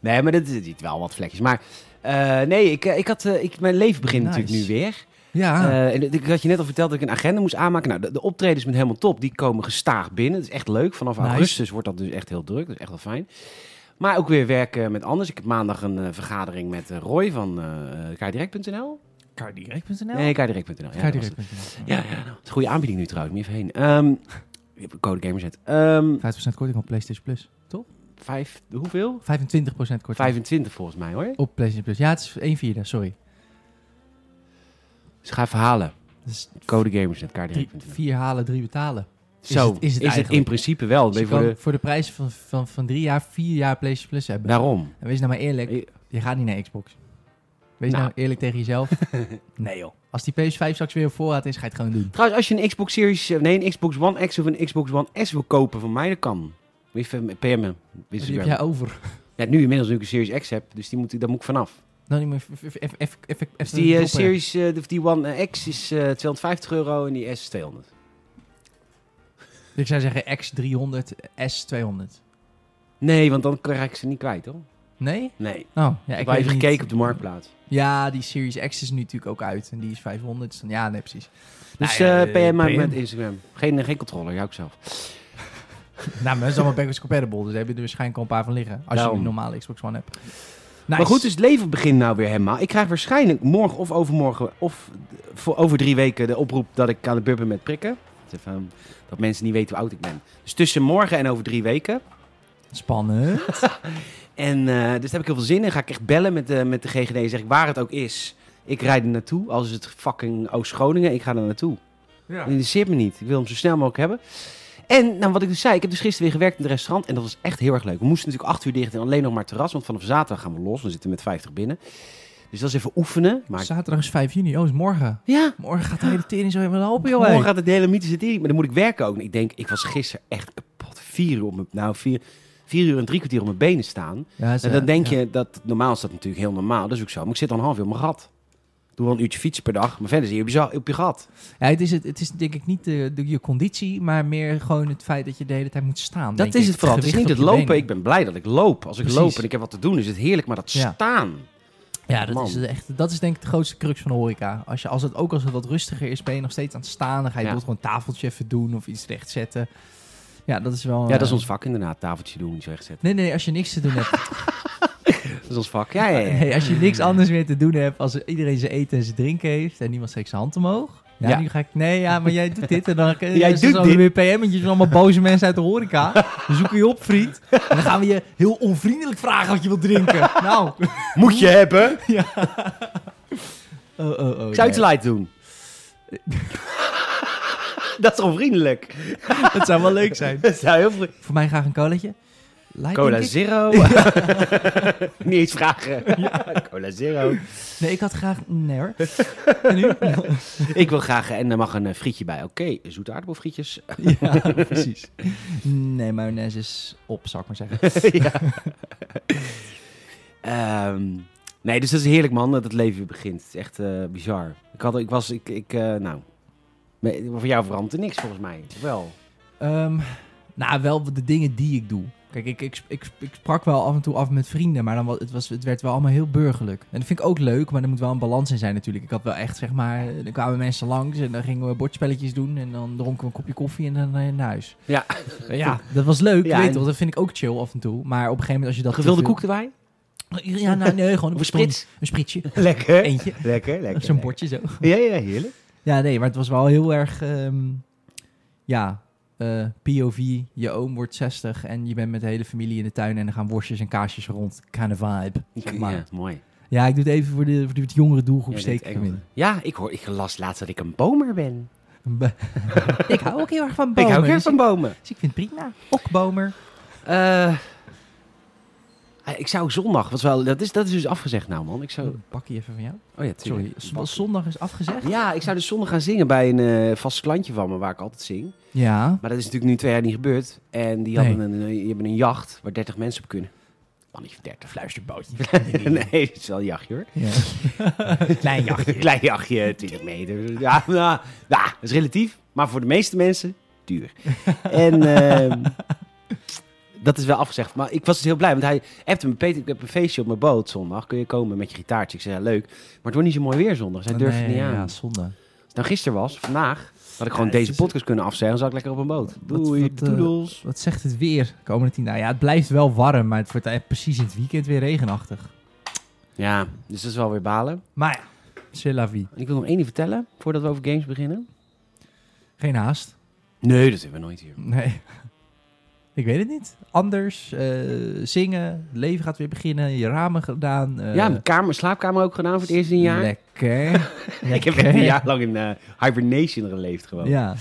Speaker 1: nee, maar dat is ziet wel wat vlekjes. Maar eh, nee, ik, eh, ik had, eh, ik, mijn leven begint
Speaker 2: Nice. Ah.
Speaker 1: natuurlijk nu weer.
Speaker 2: Ja,
Speaker 1: Eh, en ik had je net al verteld dat ik een agenda moest aanmaken. Nou, de, de optredens met helemaal top, die komen gestaag binnen. Dat is echt leuk. Vanaf
Speaker 2: Nice.
Speaker 1: augustus wordt dat dus echt heel druk. Dat is echt wel fijn. Maar ook weer werken met anders. Ik heb maandag een eh, vergadering met eh, Roy van eh kaardirect.nl.
Speaker 2: cardirect.nl?
Speaker 1: Nee, kaardirect.nl. Ja, dat was het.
Speaker 2: Cardirect.nl.
Speaker 1: Ja, ja, nou, het is een goede aanbieding nu trouwens. Moet je even heen. Ehm, je hebt een code gamerzet. Ehm
Speaker 2: 5% korting op PlayStation Plus.
Speaker 1: vijf, hoeveel?
Speaker 2: 25% korting.
Speaker 1: 25 volgens mij hoor.
Speaker 2: Op PlayStation Plus. Ja, het is 1 vierde, sorry.
Speaker 1: Dus ga even halen.
Speaker 2: Dat is
Speaker 1: Code gamerzet,
Speaker 2: drie,
Speaker 1: kaardirect.nl.
Speaker 2: vier halen, drie betalen. is
Speaker 1: Zo,
Speaker 2: het- is het
Speaker 1: in
Speaker 2: eigenlijk?
Speaker 1: principe wel.
Speaker 2: Dus je
Speaker 1: Ben je voor
Speaker 2: kan
Speaker 1: de-
Speaker 2: voor de prijs van, van, van drie jaar, vier jaar PlayStation Plus hebben.
Speaker 1: Daarom.
Speaker 2: En wees nou maar eerlijk,
Speaker 1: Ik-
Speaker 2: je gaat niet naar Xbox. Wees nou,
Speaker 1: Nou.
Speaker 2: eerlijk tegen *laughs* jezelf. nee joh. Als die PS5 straks weer op voorraad is, ga je het gewoon doen.
Speaker 1: Trouwens, als je een Xbox Series, eh, nee, een Xbox One X of een Xbox One S wil kopen van mij, dat kan. Moet je even PM'en.
Speaker 2: Dus die heb jij over.
Speaker 1: eh, Ja, nu inmiddels nu ik een Series X heb, dus die moet, daar moet ik vanaf.
Speaker 2: Nou, niet meer f- f- f- f- f- f-
Speaker 1: Dus die eh,
Speaker 2: droppen.
Speaker 1: Series, eh, of die One eh, X is eh, 250 euro en die S is 200.
Speaker 2: Ik zou zeggen X300, S200.
Speaker 1: Nee, want dan krijg ik ze niet kwijt, hoor.
Speaker 2: Nee?
Speaker 1: Nee.
Speaker 2: Nou, ja,
Speaker 1: Ik heb
Speaker 2: ik weet
Speaker 1: even
Speaker 2: niet. Nou
Speaker 1: gekeken op de marktplaats.
Speaker 2: Ja, die Series X is nu natuurlijk ook uit. En die is 500. dus dan- Ja, nee, precies.
Speaker 1: Dus
Speaker 2: Nou
Speaker 1: eh,
Speaker 2: ja, eh,
Speaker 1: PM maakt
Speaker 2: PM.
Speaker 1: met Instagram. Geen, geen controller, jou ook zelf.
Speaker 2: *laughs* Nou, maar dat is allemaal backwards compatible. Dus daar heb je er waarschijnlijk al een paar van liggen. Als je
Speaker 1: Daarom.
Speaker 2: een normale Xbox One hebt.
Speaker 1: Maar goed, dus het leven begint nou weer helemaal. Ik krijg waarschijnlijk morgen of overmorgen of d- voor over drie weken de oproep dat ik aan de bub ben met prikken. Dat is even, um, Dat mensen niet weten hoe oud ik ben. Dus tussen morgen en over drie weken.
Speaker 2: Spannend.
Speaker 1: En eh, dus daar heb ik heel veel zin in. Ga ik echt bellen met de, met de GGD. Zeg ik waar het ook is. Ik rijd er naartoe. Als het fucking Oost-Groningen, ik ga er naartoe.
Speaker 3: Ja.
Speaker 1: Dat interesseert me niet. Ik wil hem zo snel mogelijk hebben. En nou, wat ik dus zei, ik heb dus gisteren weer gewerkt in het restaurant. En dat was echt heel erg leuk. We moesten natuurlijk acht uur dicht en alleen nog maar terras. Want vanaf zaterdag gaan we los. We zitten met 50 binnen. Dus dat is even oefenen. Maar
Speaker 2: Zaterdag is 5 juni. Oh, is morgen.
Speaker 1: ja,
Speaker 2: Morgen gaat de hele tering zo helemaal open, joh.
Speaker 1: morgen
Speaker 2: hey.
Speaker 1: gaat het de hele mythische serie. Maar dan moet ik werken ook. Ik denk, ik was gisteren echt kapot. Vier uur op mijn... Nou, vier, vier uur en drie kwartier op mijn benen staan.
Speaker 2: Ja, is,
Speaker 1: En dan
Speaker 2: eh,
Speaker 1: denk
Speaker 2: ja.
Speaker 1: je, dat, normaal is dat natuurlijk heel normaal. Dat is ook zo. Maar ik zit al een half uur op mijn gat. Doe wel een uurtje fietsen per dag. Maar verder zie je op je, op je gat.
Speaker 2: Ja, het, is het, het is denk ik niet de, de- je conditie, maar meer gewoon het feit dat je de hele tijd moet staan.
Speaker 1: Dat
Speaker 2: denk
Speaker 1: is
Speaker 2: ik.
Speaker 1: het vooral.
Speaker 2: *laughs*
Speaker 1: Het is
Speaker 2: gewicht
Speaker 1: niet het
Speaker 2: op je
Speaker 1: lopen.
Speaker 2: benen.
Speaker 1: Ik ben blij dat ik loop. Als ik
Speaker 2: Precies.
Speaker 1: loop en ik heb wat te doen, is het heerlijk. Maar dat
Speaker 2: Ja. Oh,
Speaker 1: staan...
Speaker 2: Ja, dat
Speaker 1: Man.
Speaker 2: is, het echt, dat is denk ik de grootste crux van de horeca. Als je, als het, ook als het wat rustiger is, ben je nog steeds aan het staan. Dan ga je
Speaker 1: Ja.
Speaker 2: bijvoorbeeld gewoon een tafeltje even doen of iets rechtzetten. Ja, dat is wel...
Speaker 1: Ja, dat is
Speaker 2: eh,
Speaker 1: ons vak inderdaad. Tafeltje doen, niet zo recht zetten.
Speaker 2: Nee, nee, nee, als je niks te doen hebt.
Speaker 1: Dat is ons vak. Ja,
Speaker 2: *laughs*
Speaker 1: ja, ja.
Speaker 2: Nee, als je niks anders meer te doen hebt, als iedereen zijn eten en zijn drinken heeft en niemand steekt zijn hand omhoog. Ja,
Speaker 1: Ja.
Speaker 2: nu ga ik. Nee, ja, maar jij doet dit. En dan *laughs* jij
Speaker 1: Jij
Speaker 2: dus
Speaker 1: doet
Speaker 2: dan
Speaker 1: dit.
Speaker 2: weer PM'tjes van allemaal boze mensen uit de horeca. We zoeken je op, vriend. En dan gaan we je heel onvriendelijk vragen wat je wilt *laughs* drinken. Nou,
Speaker 1: *laughs* Moet je hebben.
Speaker 2: oh, oh, oh,
Speaker 1: Ik zou
Speaker 2: nee.
Speaker 1: iets light
Speaker 2: *laughs*
Speaker 1: doen. dat is onvriendelijk.
Speaker 2: dat zou wel leuk zijn.
Speaker 1: Dat zou heel vriendelijk.
Speaker 2: Voor mij graag een colaatje. Light,
Speaker 1: Cola
Speaker 2: denk ik.
Speaker 1: Zero. *laughs* Niet eens vragen. Cola Zero.
Speaker 2: Nee, ik had graag. Nee *laughs* hoor. En nu?
Speaker 1: Ik wil graag, en er mag een eh, frietje bij. Oké, zoete aardappelfrietjes.
Speaker 2: Ja, precies. Nee, mayonaise is op, zou ik maar zeggen.
Speaker 1: *laughs* ja. Ehm, nee, dus dat is heerlijk man, dat het leven weer begint. Het is echt eh, bizar. Ik, had, ik was, ik, ik eh, nou... me- Voor jou verandert er niks volgens mij, Of wel?
Speaker 2: Ehm, nou, wel de dingen die ik doe. Kijk, ik, ik, ik, ik sprak wel af en toe af met vrienden, maar dan was, het, was, het werd wel allemaal heel burgerlijk. En dat vind ik ook leuk, maar er moet wel een balans in zijn natuurlijk. Ik had wel echt, zeg maar, er kwamen mensen langs en dan gingen we bordspelletjes doen en dan dronken we een kopje koffie en dan eh, naar huis.
Speaker 1: Ja.
Speaker 2: Ja, dat was leuk,
Speaker 1: Ja,
Speaker 2: weet je
Speaker 1: en-
Speaker 2: wel, dat vind ik ook chill af en toe. Maar op een gegeven moment als je dat... te
Speaker 1: Gevulde
Speaker 2: veel-
Speaker 1: koek erbij?
Speaker 2: Ja, nou, nee, gewoon
Speaker 1: Of
Speaker 2: een
Speaker 1: een sprits?
Speaker 2: Een spritsje,
Speaker 1: Lekker.
Speaker 2: *laughs* eentje,
Speaker 1: Lekker, lekker.
Speaker 2: zo'n bordje zo.
Speaker 1: Ja, ja, heerlijk.
Speaker 2: Ja, nee, maar het was wel heel erg. ehm, ja, eh, POV. Je oom wordt 60 en je bent met de hele familie in de tuin en er gaan worstjes en kaasjes rond. Kind of vibe. zeg maar.
Speaker 1: Ja,
Speaker 2: Ja.
Speaker 1: mooi.
Speaker 2: ik doe het even voor de, voor de wat jongere doelgroep.
Speaker 1: Ja,
Speaker 2: steek
Speaker 1: dit-
Speaker 2: ik hem in.
Speaker 1: Ja, ik, hoor, ik las laatst dat ik een bomer ben.
Speaker 2: *laughs* ik hou ook heel erg van bomen.
Speaker 1: Ik hou ook heel
Speaker 2: dus
Speaker 1: van bomen.
Speaker 2: dus ik vind het prima. Okbomer.
Speaker 1: Eh, ah, ik zou zondag, was wel, dat, is, dat is dus afgezegd nou man. Ik zou,
Speaker 2: Bakkie Oh, even van jou.
Speaker 1: oh ja,
Speaker 2: Sorry,
Speaker 1: tuurlijk.
Speaker 2: z- was zondag is afgezegd.
Speaker 1: Ja, ik zou dus zondag gaan zingen bij een eh, vast klantje van me waar ik altijd zing.
Speaker 2: Ja.
Speaker 1: Maar dat is natuurlijk nu twee jaar niet gebeurd. En die, hadden een, eh, die hebben een jacht waar 30 mensen op kunnen.
Speaker 2: Oh,
Speaker 1: Man, niet 30
Speaker 2: Fluisterbootje.
Speaker 1: *laughs* nee, het is wel een jachtje hoor.
Speaker 2: Ja. Klein jachtje.
Speaker 1: *laughs* Klein jachtje, 20 meter. Ja, nou, nou, dat is relatief. Maar voor de meeste mensen,
Speaker 2: *laughs*
Speaker 1: duur. En ehm, dat is wel afgezegd. Maar ik was dus heel blij. Want hij appte me, Peter, ik heb een feestje op mijn boot zondag. Kun je komen met je gitaartje? Ik zei, ja, leuk. Maar het wordt niet zo mooi weer zondag. Zij durfde het
Speaker 2: Nee,
Speaker 1: niet aan.
Speaker 2: Ja, zonde.
Speaker 1: Als het nou gisteren was, vandaag, had ik gewoon
Speaker 2: Ja, het
Speaker 1: deze
Speaker 2: is-
Speaker 1: podcast kunnen afzeggen. Dan zat ik lekker op een boot.
Speaker 2: Wat-
Speaker 1: Doei,
Speaker 2: wat, eh,
Speaker 1: doedels.
Speaker 2: Wat zegt het weer de komende tien dagen? Ja, het blijft wel warm, maar het wordt echt precies in het weekend weer regenachtig.
Speaker 1: Ja, dus dat is wel weer balen.
Speaker 2: Maar ja, c'est la vie.
Speaker 1: En ik wil nog één ding vertellen, voordat we over games beginnen.
Speaker 2: Geen haast.
Speaker 1: Nee, dat hebben we nooit hier.
Speaker 2: Nee. *laughs* Ik weet het niet. Anders, eh, zingen, het leven gaat weer beginnen, je ramen gedaan. eh,
Speaker 1: ja, mijn kamer, slaapkamer ook gedaan voor het eerst in een jaar.
Speaker 2: Lekker.
Speaker 1: *laughs* Ik heb echt een jaar lang in eh, hibernation geleefd gewoon.
Speaker 2: Ja.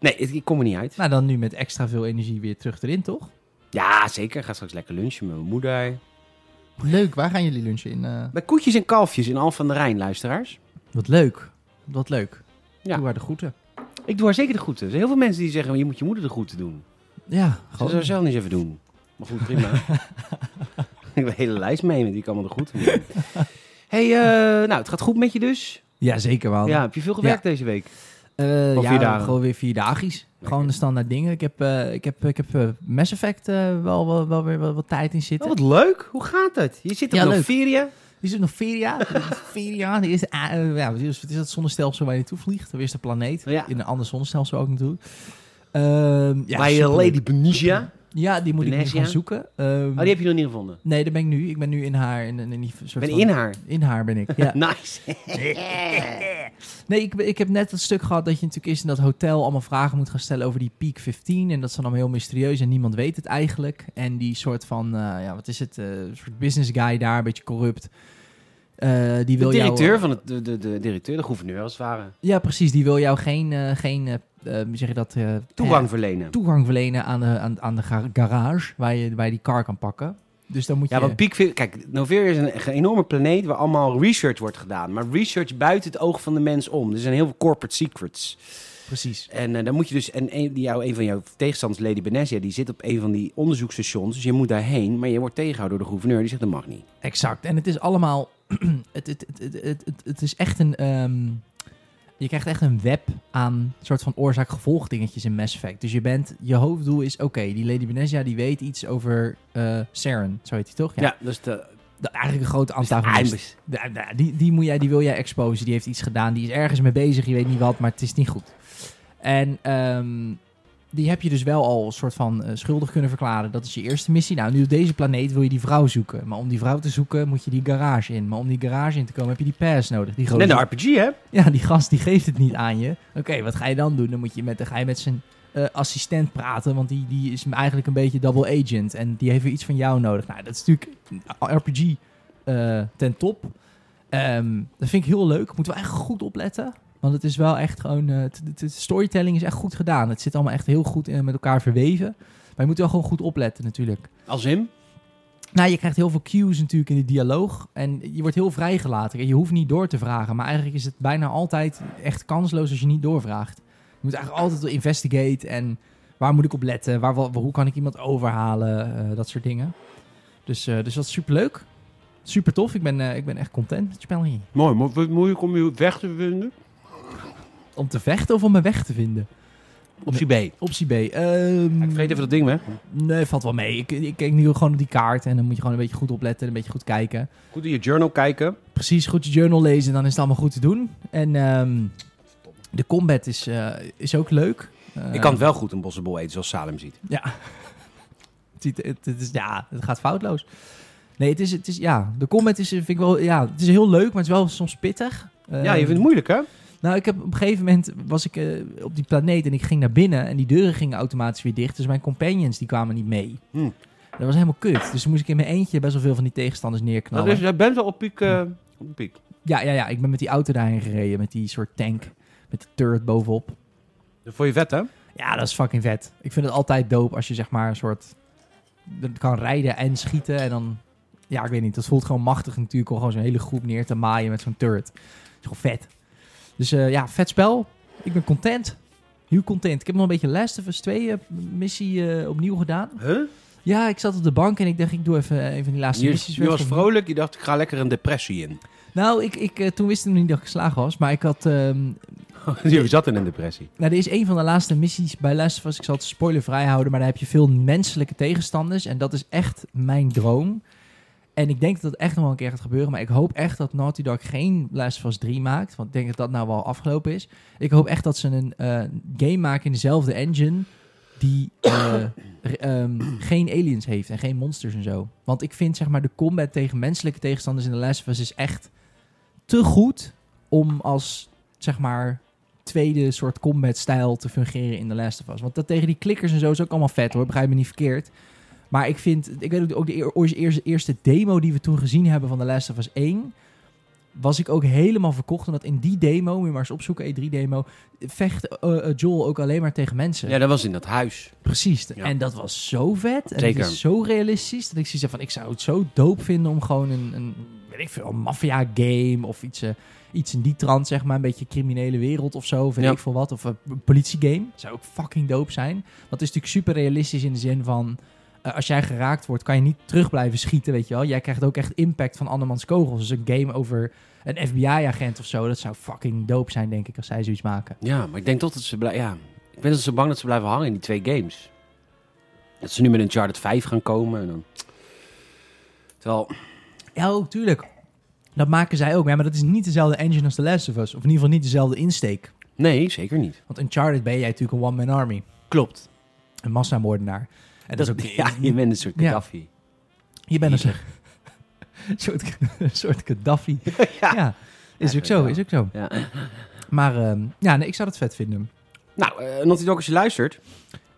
Speaker 1: Nee, het- ik kom er niet uit.
Speaker 2: Nou, dan nu met extra veel energie weer terug erin, toch?
Speaker 1: Ja, zeker. Ik ga straks lekker lunchen met mijn moeder.
Speaker 2: Leuk, waar gaan jullie lunchen in? eh?
Speaker 1: Bij koetjes en kalfjes in Al van der Rijn, luisteraars.
Speaker 2: Wat leuk. Wat leuk.
Speaker 1: Ja.
Speaker 2: Doe haar de groeten.
Speaker 1: Ik doe haar zeker de groeten. Er zijn heel veel mensen die zeggen, je moet je moeder de groeten doen.
Speaker 2: Ja,
Speaker 1: Ze zou
Speaker 2: gewoon.
Speaker 1: zelf niet eens even doen. Maar goed, prima.
Speaker 2: *laughs*
Speaker 1: ik heb een hele lijst mee met die ik allemaal de groeten moet
Speaker 2: *laughs*
Speaker 1: doen. hey, eh, nou, het gaat goed met je dus.
Speaker 2: Ja, zeker wel.
Speaker 1: Ja, heb je veel gewerkt deze week?
Speaker 2: Eh,
Speaker 1: Of
Speaker 2: ja,
Speaker 1: vier dagen?
Speaker 2: gewoon weer vier dagies. Gewoon de standaard dingen. Ik heb, eh, ik heb, ik heb eh, Mass Effect eh, wel, wel, wel weer wel, wat tijd in
Speaker 1: Oh,
Speaker 2: zitten.
Speaker 1: wat leuk. Hoe gaat het? Je zit op
Speaker 2: Ja,
Speaker 1: een
Speaker 2: leuk.
Speaker 1: Noveria.
Speaker 2: *laughs* Is het nog vier jaar? vier jaar. De eerste, a- eh, ja, wat is wat is dat zonnestelsel waar je naartoe vliegt? De eerste planeet.
Speaker 1: Ja.
Speaker 2: In een ander zonnestelsel ook naartoe. Ehm ja,
Speaker 1: bij eh,
Speaker 2: superleuk.
Speaker 1: Lady Benicia.
Speaker 2: Ja, die moet ik nu
Speaker 1: Venetia?
Speaker 2: gaan zoeken. Ehm,
Speaker 1: Oh, die heb je nog niet gevonden.
Speaker 2: Nee, daar ben ik nu. Ik ben nu in haar. In, in, in die soort
Speaker 1: Ik ben
Speaker 2: van-
Speaker 1: in haar.
Speaker 2: In haar ben ik, ja.
Speaker 1: *laughs*
Speaker 2: *laughs*
Speaker 1: Nice.
Speaker 2: Nee, ik, ik heb net dat stuk gehad dat je natuurlijk eerst in dat hotel allemaal vragen moet gaan stellen over die Peak 15. En dat is dan allemaal heel mysterieus en niemand weet het eigenlijk. En die soort van, eh, ja, wat is het? eh, soort business guy daar, een beetje corrupt. Eh, die
Speaker 1: De
Speaker 2: wil jou-
Speaker 1: directeur van het, de, de, de directeur, de gouverneur als het ware.
Speaker 2: ja, precies. Die wil jou geen, eh, geen eh, eh, hoe zeg je dat? eh,
Speaker 1: Toegang
Speaker 2: eh,
Speaker 1: verlenen.
Speaker 2: toegang verlenen aan de, aan, aan de ga- garage waar je, waar je die car kan pakken. Dus dan moet
Speaker 1: Ja,
Speaker 2: je...
Speaker 1: want Peak... Kijk, Noveria is een, een enorme planeet waar allemaal research wordt gedaan. Maar research buiten het oog van de mens om. Er zijn heel veel corporate secrets.
Speaker 2: Precies.
Speaker 1: En eh, dan moet je dus... En een, die jou, een van jouw tegenstanders, Lady Benesia, die zit op een van die onderzoekstations. Dus je moet daarheen, maar je wordt tegengehouden door de gouverneur. Die zegt, dat mag niet.
Speaker 2: Exact. En het is allemaal. *clears throat* het, het, het, het, het, het- het is echt een. ehm, je krijgt echt een web aan soort van oorzaak-gevolg dingetjes in Mass Effect. Dus je bent, je hoofddoel is, oké, die Lady Benezia die weet iets over eh Saren, zo heet hij toch?
Speaker 1: Ja, dus de...
Speaker 2: De, eigenlijk een grote antagonist.
Speaker 1: Eindelijk.
Speaker 2: Ja, ja, die, die, moet jij, die wil jij exposen. Die heeft iets gedaan. Die is ergens mee bezig. Je weet niet wat, maar het is niet goed. En ehm, die heb je dus wel al een soort van eh, schuldig kunnen verklaren. Dat is je eerste missie. Nou, nu op deze planeet wil je die vrouw zoeken. Maar om die vrouw te zoeken moet je die garage in. Maar om die garage in te komen heb je die pass nodig. Die
Speaker 1: Net
Speaker 2: gozer-
Speaker 1: een RPG, hè?
Speaker 2: ja, die gast die geeft het niet aan je. Oké, wat ga je dan doen? Dan, moet je met, dan ga je met zijn eh, assistent praten, want die, die is eigenlijk een beetje double agent. En die heeft weer iets van jou nodig. Nou, dat is natuurlijk een RPG eh, ten top. Ehm, dat vind ik heel leuk. Moeten we echt goed opletten. Want het is wel echt gewoon... eh, t- t- t- storytelling is echt goed gedaan. Het zit allemaal echt heel goed eh, met elkaar verweven. Maar je moet wel gewoon goed opletten natuurlijk.
Speaker 1: Als in?
Speaker 2: Nou, je krijgt heel veel cues natuurlijk in de dialoog. En je wordt heel vrijgelaten. Je hoeft niet door te vragen. Maar eigenlijk is het bijna altijd echt kansloos als je niet doorvraagt. Je moet eigenlijk altijd wel investigate. En waar moet ik op letten? Waar, wa- hoe kan ik iemand overhalen? Eh, dat soort dingen. Dus, eh, dus dat is superleuk. Super tof. Ik ben, eh, ik ben echt content met het spel hier.
Speaker 1: Mooi, mo- wordt het moeilijk om je weg te vinden?
Speaker 2: Om te vechten of om mijn weg te vinden?
Speaker 1: Optie B. Ik
Speaker 2: Optie B. Ehm,
Speaker 1: vergeet even dat ding weg.
Speaker 2: Nee, valt wel mee. Ik, ik kijk nu gewoon op die kaart. En dan moet je gewoon een beetje goed opletten. Een beetje goed kijken.
Speaker 1: Goed in je journal kijken.
Speaker 2: precies goed je journal lezen, dan is het allemaal goed te doen. En ehm, de combat is, eh, is ook leuk. Eh,
Speaker 1: Ik kan het wel goed een bossenbol eten, zoals Salem ziet.
Speaker 2: Ja. *laughs* het, ziet- het, het is, ja, het gaat foutloos. Nee, het is, het is, ja, de combat is, eh, vind ik wel, ja, het is heel leuk, maar het is wel soms pittig.
Speaker 1: Eh. ja, je
Speaker 2: Ehm,
Speaker 1: vindt het moeilijk, hè?
Speaker 2: nou, ik heb op een gegeven moment was ik eh, op die planeet en ik ging naar binnen en die deuren gingen automatisch weer dicht. Dus mijn companions die kwamen niet mee.
Speaker 1: Hm.
Speaker 2: Dat was helemaal kut. Dus toen moest ik in mijn eentje best wel veel van die tegenstanders
Speaker 1: Dat
Speaker 2: neerknallen.
Speaker 1: is, jij bent wel op piek. eh, op piek.
Speaker 2: Ja, ja, ja. Ik ben met die auto daarheen gereden. Met die soort tank. Met die turret bovenop.
Speaker 1: Dat vond je vet, hè?
Speaker 2: Ja, dat is fucking vet. Ik vind het altijd dope als je zeg maar een soort... dat kan rijden en schieten en dan... Ja, ik weet niet. Dat voelt gewoon machtig natuurlijk om gewoon zo'n hele groep neer te maaien met zo'n turret. Dat is gewoon vet. Dus eh, ja, vet spel. Ik ben content. Heel content. Ik heb nog een beetje Last of Us 2 eh, missie eh, opnieuw gedaan.
Speaker 1: Huh?
Speaker 2: Ja, ik zat op de bank en ik dacht, ik doe even eh, een van die laatste
Speaker 1: Je,
Speaker 2: missies.
Speaker 1: je
Speaker 2: weg.
Speaker 1: was vrolijk, je dacht, ik ga lekker een depressie in.
Speaker 2: Nou, ik, ik, eh, toen wist ik nog niet dat ik geslagen was. Maar ik had ehm,
Speaker 1: *laughs* je zat in een depressie.
Speaker 2: Nou, dit is een van de laatste missies bij Last of Us. Ik zal het spoilervrij houden, maar daar heb je veel menselijke tegenstanders. En dat is echt mijn droom. En ik denk dat dat echt nog wel een keer gaat gebeuren. Maar ik hoop echt dat Naughty Dog geen Last of Us 3 maakt. Want ik denk dat dat nou wel afgelopen is. Ik hoop echt dat ze een eh, game maken in dezelfde engine... die eh, re- ehm, geen aliens heeft en geen monsters en zo. Want ik vind zeg maar de combat tegen menselijke tegenstanders in de Last of Us... is echt te goed om als zeg maar tweede soort combat-stijl te fungeren in The Last of Us. Want dat tegen die klikkers en zo is ook allemaal vet hoor, begrijp me niet verkeerd. Maar ik vind, ik weet ook, ook de eer- oor- eerste, eerste demo die we toen gezien hebben van The Last of Us 1... was ik ook helemaal verkocht, omdat in die demo, moet je maar eens opzoeken, E3-demo... vecht eh, eh, Joel ook alleen maar tegen mensen.
Speaker 1: Ja, dat was in dat huis.
Speaker 2: Precies.
Speaker 1: Ja.
Speaker 2: En dat was zo vet. En
Speaker 1: Zeker.
Speaker 2: het is zo realistisch dat ik zoiets heb van... ik zou het zo dope vinden om gewoon een, een weet ik veel, een maffia game... of iets, eh, iets in die trant, zeg maar. Een beetje criminele wereld of zo, of weet
Speaker 1: Ja.
Speaker 2: ik veel wat. Of een politiegame. Zou ook fucking dope zijn. Want het is natuurlijk super realistisch in de zin van... eh, als jij geraakt wordt, kan je niet terug blijven schieten, weet je wel. Jij krijgt ook echt impact van andermans kogels. Dus een game over een FBI-agent of zo... dat zou fucking dope zijn, denk ik, als zij zoiets maken.
Speaker 1: Ja, maar ik denk toch dat ze blijven... Ja, ik ben dus zo bang dat ze blijven hangen in die twee games. Dat ze nu met een Uncharted 5 gaan komen en dan... Terwijl,
Speaker 2: Ja, ook, tuurlijk. Dat maken zij ook. Ja, maar dat is niet dezelfde engine als The Last of Us. Of in ieder geval niet dezelfde insteek.
Speaker 1: nee, zeker niet.
Speaker 2: Want Uncharted ben jij natuurlijk een one-man army.
Speaker 1: Klopt.
Speaker 2: Een massamoordenaar. En dat is ook...
Speaker 1: *laughs* Ja, je bent een soort
Speaker 2: Ja.
Speaker 1: Gaddafi.
Speaker 2: Je bent een soort... *laughs* een soort- een soort
Speaker 1: *laughs*
Speaker 2: Gaddafi. Ja. Is ook
Speaker 1: Eigenlijk
Speaker 2: zo,
Speaker 1: wel.
Speaker 2: is ook zo.
Speaker 1: Ja.
Speaker 2: Maar ehm, ja, nee, ik zou dat vet vinden.
Speaker 1: Nou, eh Naughty Dog, als je luistert,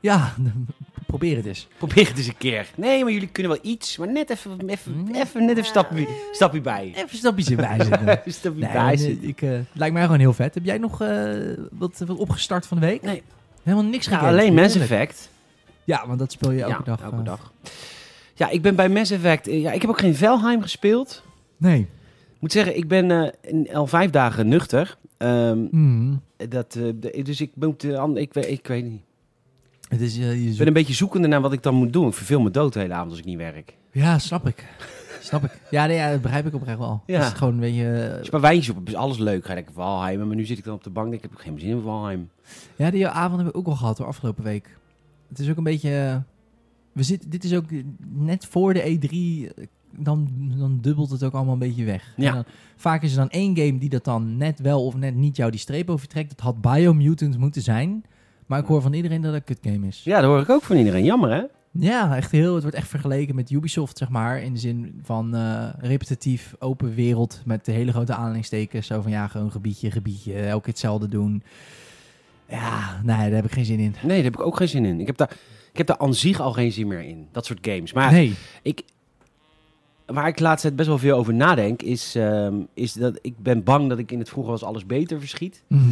Speaker 2: Ja, *laughs* probeer het eens.
Speaker 1: probeer het eens een keer. Nee, maar jullie kunnen wel iets, maar net even, even,
Speaker 2: Mm.
Speaker 1: even, net even stapje, stapje bij. *laughs*
Speaker 2: Even een stapje erbij zitten.
Speaker 1: Even stapje
Speaker 2: Nee,
Speaker 1: bij
Speaker 2: maar,
Speaker 1: zitten.
Speaker 2: eh, ik, eh, het lijkt mij gewoon heel vet. Heb jij nog eh, wat, wat opgestart van de week?
Speaker 1: Nee.
Speaker 2: Helemaal niks
Speaker 1: Ja,
Speaker 2: gegamed.
Speaker 1: alleen Mass
Speaker 2: Heerlijk.
Speaker 1: Effect.
Speaker 2: Ja, want dat speel je elke dag. eh.
Speaker 1: Ja, ik ben bij Mass Effect. eh, Ja, ik heb ook geen Velheim gespeeld.
Speaker 2: Nee.
Speaker 1: Ik moet zeggen, ik ben eh, in- al vijf dagen nuchter. Ehm,
Speaker 2: Mm.
Speaker 1: dat, eh, de- dus ik, moet, eh, an- ik, weet- ik weet niet.
Speaker 2: Het is, eh, je
Speaker 1: Ik
Speaker 2: zoekt-
Speaker 1: ben een beetje zoekende naar wat ik dan moet doen. Ik verveel me dood de hele avond als ik niet werk.
Speaker 2: Ja, snap ik. snap ik. Ja, nee, ja, dat begrijp ik oprecht wel.
Speaker 1: Ja.
Speaker 2: Ja. is gewoon een beetje...
Speaker 1: Als
Speaker 2: eh,
Speaker 1: je maar wijntjes op, is alles leuk. Ga ik Valheim, maar nu zit ik dan op de bank en denk ik heb ik geen zin in Valheim.
Speaker 2: Ja, die avond hebben we ook al gehad hoor, afgelopen week. Het is ook een beetje... eh, We zitten, dit is ook eh, net voor de E3, eh, dan, dan dubbelt het ook allemaal een beetje weg.
Speaker 1: Ja.
Speaker 2: En dan- vaak is er dan één game die dat dan net wel of net niet jou die streep overtrekt. Dat had Biomutant moeten zijn. Maar ik hoor van iedereen dat het een kutgame is.
Speaker 1: Ja, dat hoor ik ook van iedereen. Jammer, hè?
Speaker 2: Ja, echt heel. Het wordt echt vergeleken met Ubisoft, zeg maar. In de zin van eh, repetitief, open wereld. Met de hele grote aanhalingstekens. Zo van ja, gewoon gebiedje, gebiedje. Elke keer hetzelfde doen. Ja, nee, daar heb ik geen zin in.
Speaker 1: Nee, daar heb ik ook geen zin in. Ik heb daar, ik heb daar aan zich al geen zin meer in. Dat soort games. Maar
Speaker 2: Nee.
Speaker 1: waar ik laatst best wel veel over nadenk, is, ehm, is dat ik ben bang dat ik in het vroeger was alles beter verschiet.
Speaker 2: Mhm.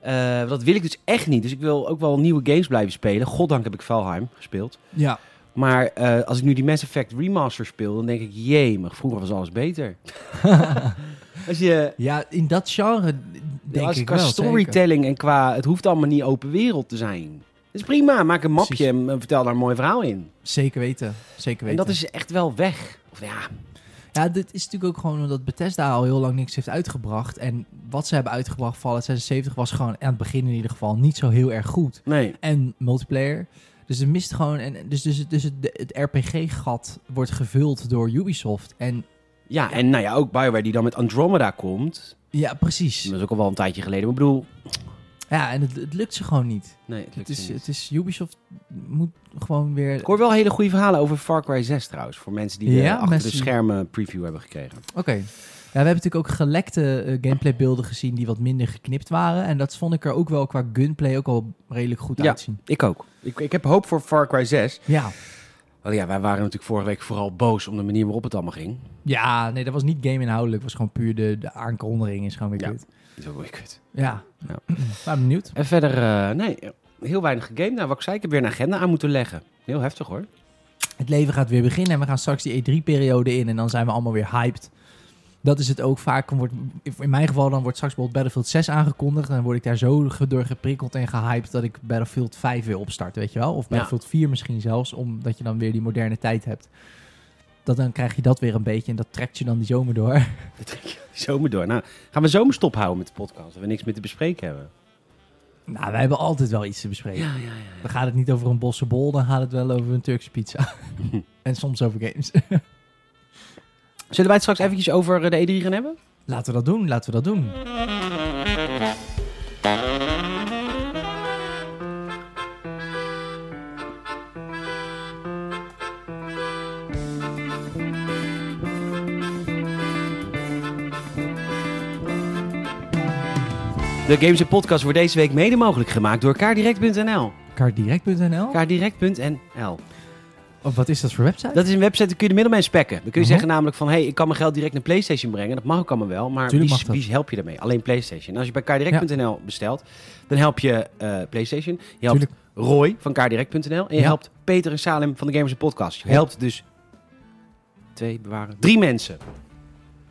Speaker 1: Eh, dat wil ik dus echt niet. Dus ik wil ook wel nieuwe games blijven spelen. Goddank heb ik Valheim gespeeld.
Speaker 2: Ja.
Speaker 1: Maar eh, als ik nu die Mass Effect Remaster speel, dan denk ik, jemig, vroeger was alles
Speaker 2: *laughs*
Speaker 1: beter. als je,
Speaker 2: ja, in dat genre denk
Speaker 1: als,
Speaker 2: ik
Speaker 1: qua
Speaker 2: wel. zeker.
Speaker 1: storytelling en qua, het hoeft allemaal niet open wereld te zijn. Dat is prima, maak een mapje
Speaker 2: Precies.
Speaker 1: en eh, vertel daar een mooi verhaal in.
Speaker 2: Zeker weten. Zeker weten.
Speaker 1: En dat is echt wel weg. Of ja,
Speaker 2: Ja, dit is natuurlijk ook gewoon omdat Bethesda al heel lang niks heeft uitgebracht. En wat ze hebben uitgebracht, Fallout 76, was gewoon aan het begin in ieder geval niet zo heel erg goed.
Speaker 1: nee.
Speaker 2: En multiplayer. Dus het mist gewoon. En dus, dus, dus het, het RPG-gat wordt gevuld door Ubisoft. En
Speaker 1: Ja, en nou ja, ook Bioware die dan met Andromeda komt.
Speaker 2: ja, precies.
Speaker 1: Dat is ook al wel een tijdje geleden. Maar ik bedoel,
Speaker 2: Ja, en het, het lukt ze gewoon niet.
Speaker 1: nee, het
Speaker 2: Het
Speaker 1: lukt
Speaker 2: is,
Speaker 1: niet.
Speaker 2: het is Ubisoft moet gewoon weer.
Speaker 1: Ik hoor wel hele goede verhalen over Far Cry 6 trouwens. Voor mensen die de
Speaker 2: Ja,
Speaker 1: achter
Speaker 2: mensen-
Speaker 1: de schermen preview hebben gekregen.
Speaker 2: Oké. Ja, we hebben natuurlijk ook gelekte gameplay gameplaybeelden gezien die wat minder geknipt waren. En dat vond ik er ook wel qua gunplay ook al redelijk goed
Speaker 1: Ja.
Speaker 2: uitzien.
Speaker 1: Ik ook. Ik, ik heb hoop voor Far Cry 6.
Speaker 2: Ja.
Speaker 1: Want ja, wij waren natuurlijk vorige week vooral boos om de manier waarop het allemaal ging.
Speaker 2: Ja, nee, dat was niet game inhoudelijk. was gewoon puur de, de aankondiging is gewoon weer
Speaker 1: Ja.
Speaker 2: kut.
Speaker 1: Dat is ook weer kut.
Speaker 2: Ja.
Speaker 1: Ja.
Speaker 2: *clears throat* Maar benieuwd.
Speaker 1: En verder, eh, nee, heel weinig gegamed. Nou, wat ik zei, ik heb weer een agenda aan moeten leggen. Heel heftig hoor. *laughs*
Speaker 2: Het leven gaat weer beginnen en we gaan straks die E3-periode in en dan zijn we allemaal weer hyped. Dat is het ook vaak. Dan Wordt, in mijn geval dan wordt straks bijvoorbeeld Battlefield 6 aangekondigd. En dan word ik daar zo ge- door geprikkeld en gehyped dat ik Battlefield 5 wil opstarten, weet je wel? Of Battlefield 4 misschien zelfs, omdat je dan weer die moderne tijd hebt. Dat dan krijg je dat weer een beetje en dat trekt je dan die zomer door. *laughs*
Speaker 1: Dat trek je die zomer door. Nou, gaan we zomerstop houden met de podcast. Dat we niks meer te bespreken hebben.
Speaker 2: Nou, wij hebben altijd wel iets te bespreken.
Speaker 1: Ja, ja, ja.
Speaker 2: Dan gaat het niet over een bosse bol, dan gaat het wel over een Turkse pizza. en soms over games. *laughs*
Speaker 1: Zullen wij het straks eventjes over eh, de E3 gaan hebben?
Speaker 2: laten we dat doen, laten we dat doen.
Speaker 1: De Games en Podcast wordt deze week mede mogelijk gemaakt door kaardirect.nl. Oh.
Speaker 2: Kaartdirect.nl?
Speaker 1: kaardirect.nl.
Speaker 2: Of Oh, wat is dat voor website?
Speaker 1: Dat is een website, daar kun je de middelman spekken. Dan kun je
Speaker 2: Mhm.
Speaker 1: zeggen namelijk van, hé, hey, ik kan mijn geld direct naar PlayStation brengen. Dat mag ook allemaal wel, maar
Speaker 2: Tuurlijk
Speaker 1: wie,
Speaker 2: mag dat.
Speaker 1: wie help je daarmee? Alleen PlayStation. En als je bij kaardirect.nl bestelt, dan help je eh, PlayStation. Je helpt
Speaker 2: Tuurlijk.
Speaker 1: Roy van kaardirect.nl en je
Speaker 2: Ja.
Speaker 1: helpt Peter en Salem van de Gamers en Podcast. Je
Speaker 2: Ja.
Speaker 1: helpt dus twee bewaren, drie mensen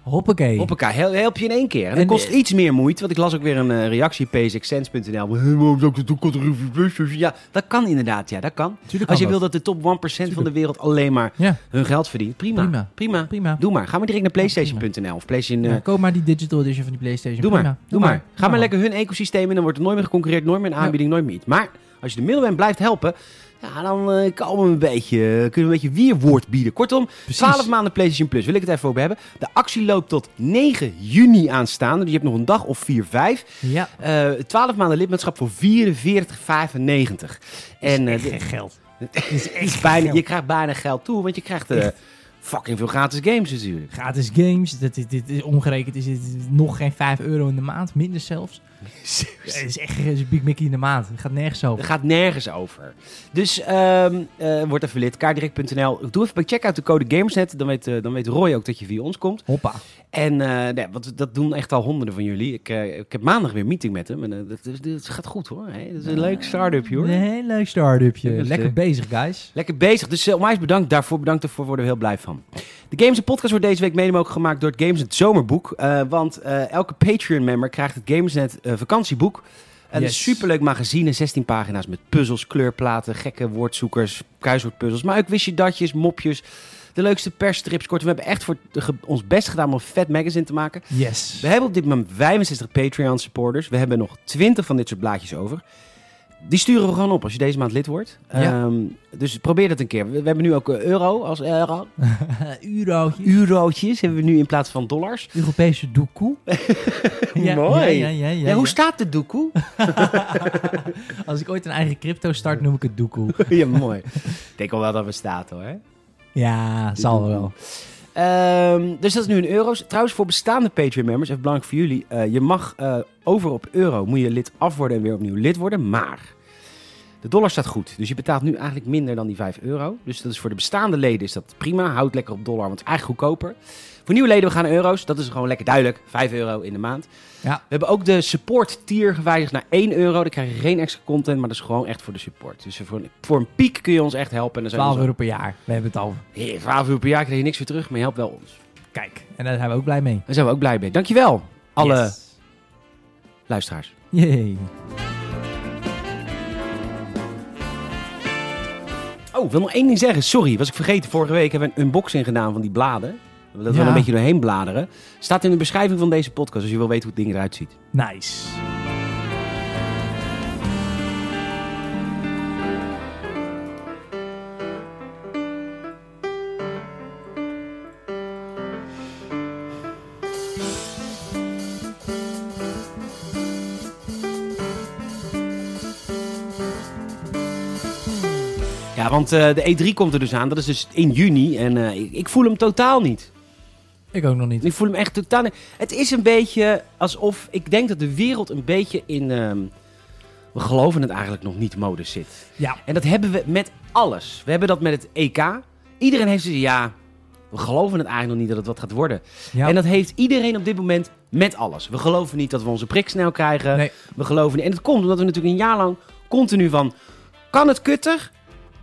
Speaker 2: Hoppakee.
Speaker 1: op elkaar. Hel- Help je in één keer. En dat
Speaker 2: En- eh,
Speaker 1: kost iets meer moeite, want ik las ook weer een eh, reactie psxsense.nl. Hey, waarom zou ik dat doen? Kan er een plus? Ja, dat kan inderdaad, ja, dat kan.
Speaker 2: Tuurlijk
Speaker 1: Als je
Speaker 2: kan
Speaker 1: wil
Speaker 2: dat.
Speaker 1: dat de top 1% van de wereld alleen maar
Speaker 2: Ja.
Speaker 1: hun geld verdient, prima.
Speaker 2: Prima.
Speaker 1: Prima.
Speaker 2: Prima.
Speaker 1: Doe maar. Ga maar direct naar PlayStation.nl of PlayStation... eh,
Speaker 2: Ja, koop maar die digital edition van die PlayStation.
Speaker 1: doe maar.
Speaker 2: Prima.
Speaker 1: Doe maar. Ga maar
Speaker 2: man.
Speaker 1: lekker hun ecosysteem in, dan wordt er nooit meer geconcurreerd, nooit meer een
Speaker 2: Ja.
Speaker 1: aanbieding, nooit meer iets. Maar als je de middelman blijft helpen, ja, dan eh, kalmen we een beetje, kunnen we een beetje weerwoord bieden. Kortom,
Speaker 2: Precies.
Speaker 1: 12 maanden PlayStation Plus, wil ik het even over hebben. De actie loopt tot 9 juni aanstaande, dus je hebt nog een dag of 4, 5.
Speaker 2: Ja.
Speaker 1: Eh 12 maanden lidmaatschap voor 44,95. En eh, dit- *laughs*
Speaker 2: geld.
Speaker 1: is bijna, je krijgt bijna geld toe, want je krijgt eh, fucking veel gratis games natuurlijk.
Speaker 2: Gratis games. Dat is, dit is omgerekend is dit nog geen 5 euro in de maand. Minder zelfs. Het is echt het is Big Mickey in de maand. Het gaat nergens
Speaker 1: Dat
Speaker 2: over.
Speaker 1: gaat nergens over. Dus ehm eh, word even lid, kaardirect.nl. Doe even bij checkout de code GamersNet, dan weet, eh, dan weet Roy ook dat je via ons komt.
Speaker 2: Hoppa.
Speaker 1: En eh nee, want dat doen echt al honderden van jullie. Ik, eh, ik heb maandag weer een meeting met hem en eh, dat, is- dat gaat goed hoor. Hey, dat is een leuk start-upje hoor.
Speaker 2: Een heel leuk start-upje.
Speaker 1: Dat is,
Speaker 2: Lekker
Speaker 1: eh,
Speaker 2: bezig, guys.
Speaker 1: Lekker bezig. Dus eh, onwijs bedankt daarvoor. Bedankt daarvoor. Worden we heel blij van. De Games en Podcast wordt deze week mede mogelijk gemaakt door het Games het Zomerboek. Eh, want eh, elke Patreon-member krijgt het Gamesnet eh, vakantieboek. En
Speaker 2: Yes.
Speaker 1: Een superleuk magazine, 16 pagina's met puzzels, kleurplaten, gekke woordzoekers, kruiswoordpuzzels. Maar ook wist je datjes, mopjes, de leukste persstrips. Kortom, we hebben echt voor de ge- ons best gedaan om een vet magazine te maken.
Speaker 2: Yes.
Speaker 1: We hebben op dit moment 65 Patreon supporters. We hebben nog 20 van dit soort blaadjes over. Die sturen we gewoon op als je deze maand lid wordt.
Speaker 2: Ja.
Speaker 1: Ehm, dus probeer dat een keer. We, we hebben nu ook eh, euro als euro.
Speaker 2: *laughs* Eurootje.
Speaker 1: Eurootjes hebben we nu in plaats van dollars. *laughs*
Speaker 2: Europese doekoe. Ja,
Speaker 1: Mooi.
Speaker 2: Ja, ja, ja, ja,
Speaker 1: Ja, hoe
Speaker 2: ja.
Speaker 1: staat de doekoe? *laughs*
Speaker 2: Als ik ooit een eigen crypto start, noem ik het doekoe.
Speaker 1: ja, mooi. Ik denk al wel dat we staat hoor. *laughs*
Speaker 2: Ja, zal wel.
Speaker 1: Ehm, dus dat is nu in euro's. Trouwens, voor bestaande Patreon-members, even belangrijk voor jullie. eh, je mag eh, over op euro, moet je lid af worden en weer opnieuw lid worden. Maar de dollar staat goed. Dus je betaalt nu eigenlijk minder dan die 5 euro. Dus dat is voor de bestaande leden is dat prima. Houd lekker op dollar, want het is eigenlijk goedkoper. Voor nieuwe leden, we gaan naar euro's. Dat is gewoon lekker duidelijk. 5 euro in de maand.
Speaker 2: Ja.
Speaker 1: We hebben ook de support-tier gewijzigd naar 1 euro. Dan krijg je geen extra content, maar dat is gewoon echt voor de support. Dus voor een, voor een piek kun je ons echt helpen. En dan zijn
Speaker 2: 12
Speaker 1: we
Speaker 2: euro per jaar. We hebben het al.
Speaker 1: Hey, 12 euro per jaar krijg je niks weer terug, maar je helpt wel ons.
Speaker 2: Kijk, en daar zijn we ook blij mee.
Speaker 1: Daar zijn we ook blij mee. Dankjewel, alle
Speaker 2: Yes.
Speaker 1: luisteraars.
Speaker 2: Yay.
Speaker 1: Oh, ik wil nog één ding zeggen. Sorry, was ik vergeten. Vorige week hebben we een unboxing gedaan van die bladen. We willen er
Speaker 2: Ja.
Speaker 1: wel een beetje doorheen bladeren. Staat in de beschrijving van deze podcast, als je wil weten hoe het ding eruit ziet.
Speaker 2: Nice.
Speaker 1: Ja, want eh, de E3 komt er dus aan. Dat is dus in juni. En eh, ik, ik voel hem totaal niet.
Speaker 2: Ik ook nog niet.
Speaker 1: Ik voel hem echt totaal niet. Het is een beetje alsof... Ik denk dat de wereld een beetje in... ehm, we geloven het eigenlijk nog niet mode zit.
Speaker 2: Ja.
Speaker 1: En dat hebben we met alles. We hebben dat met het EK. Iedereen heeft zoiets ja, we geloven het eigenlijk nog niet dat het wat gaat worden.
Speaker 2: ja.
Speaker 1: En dat heeft iedereen op dit moment met alles. We geloven niet dat we onze prik snel krijgen.
Speaker 2: Nee.
Speaker 1: We geloven niet. En dat komt omdat we natuurlijk een jaar lang continu van... Kan het kutter?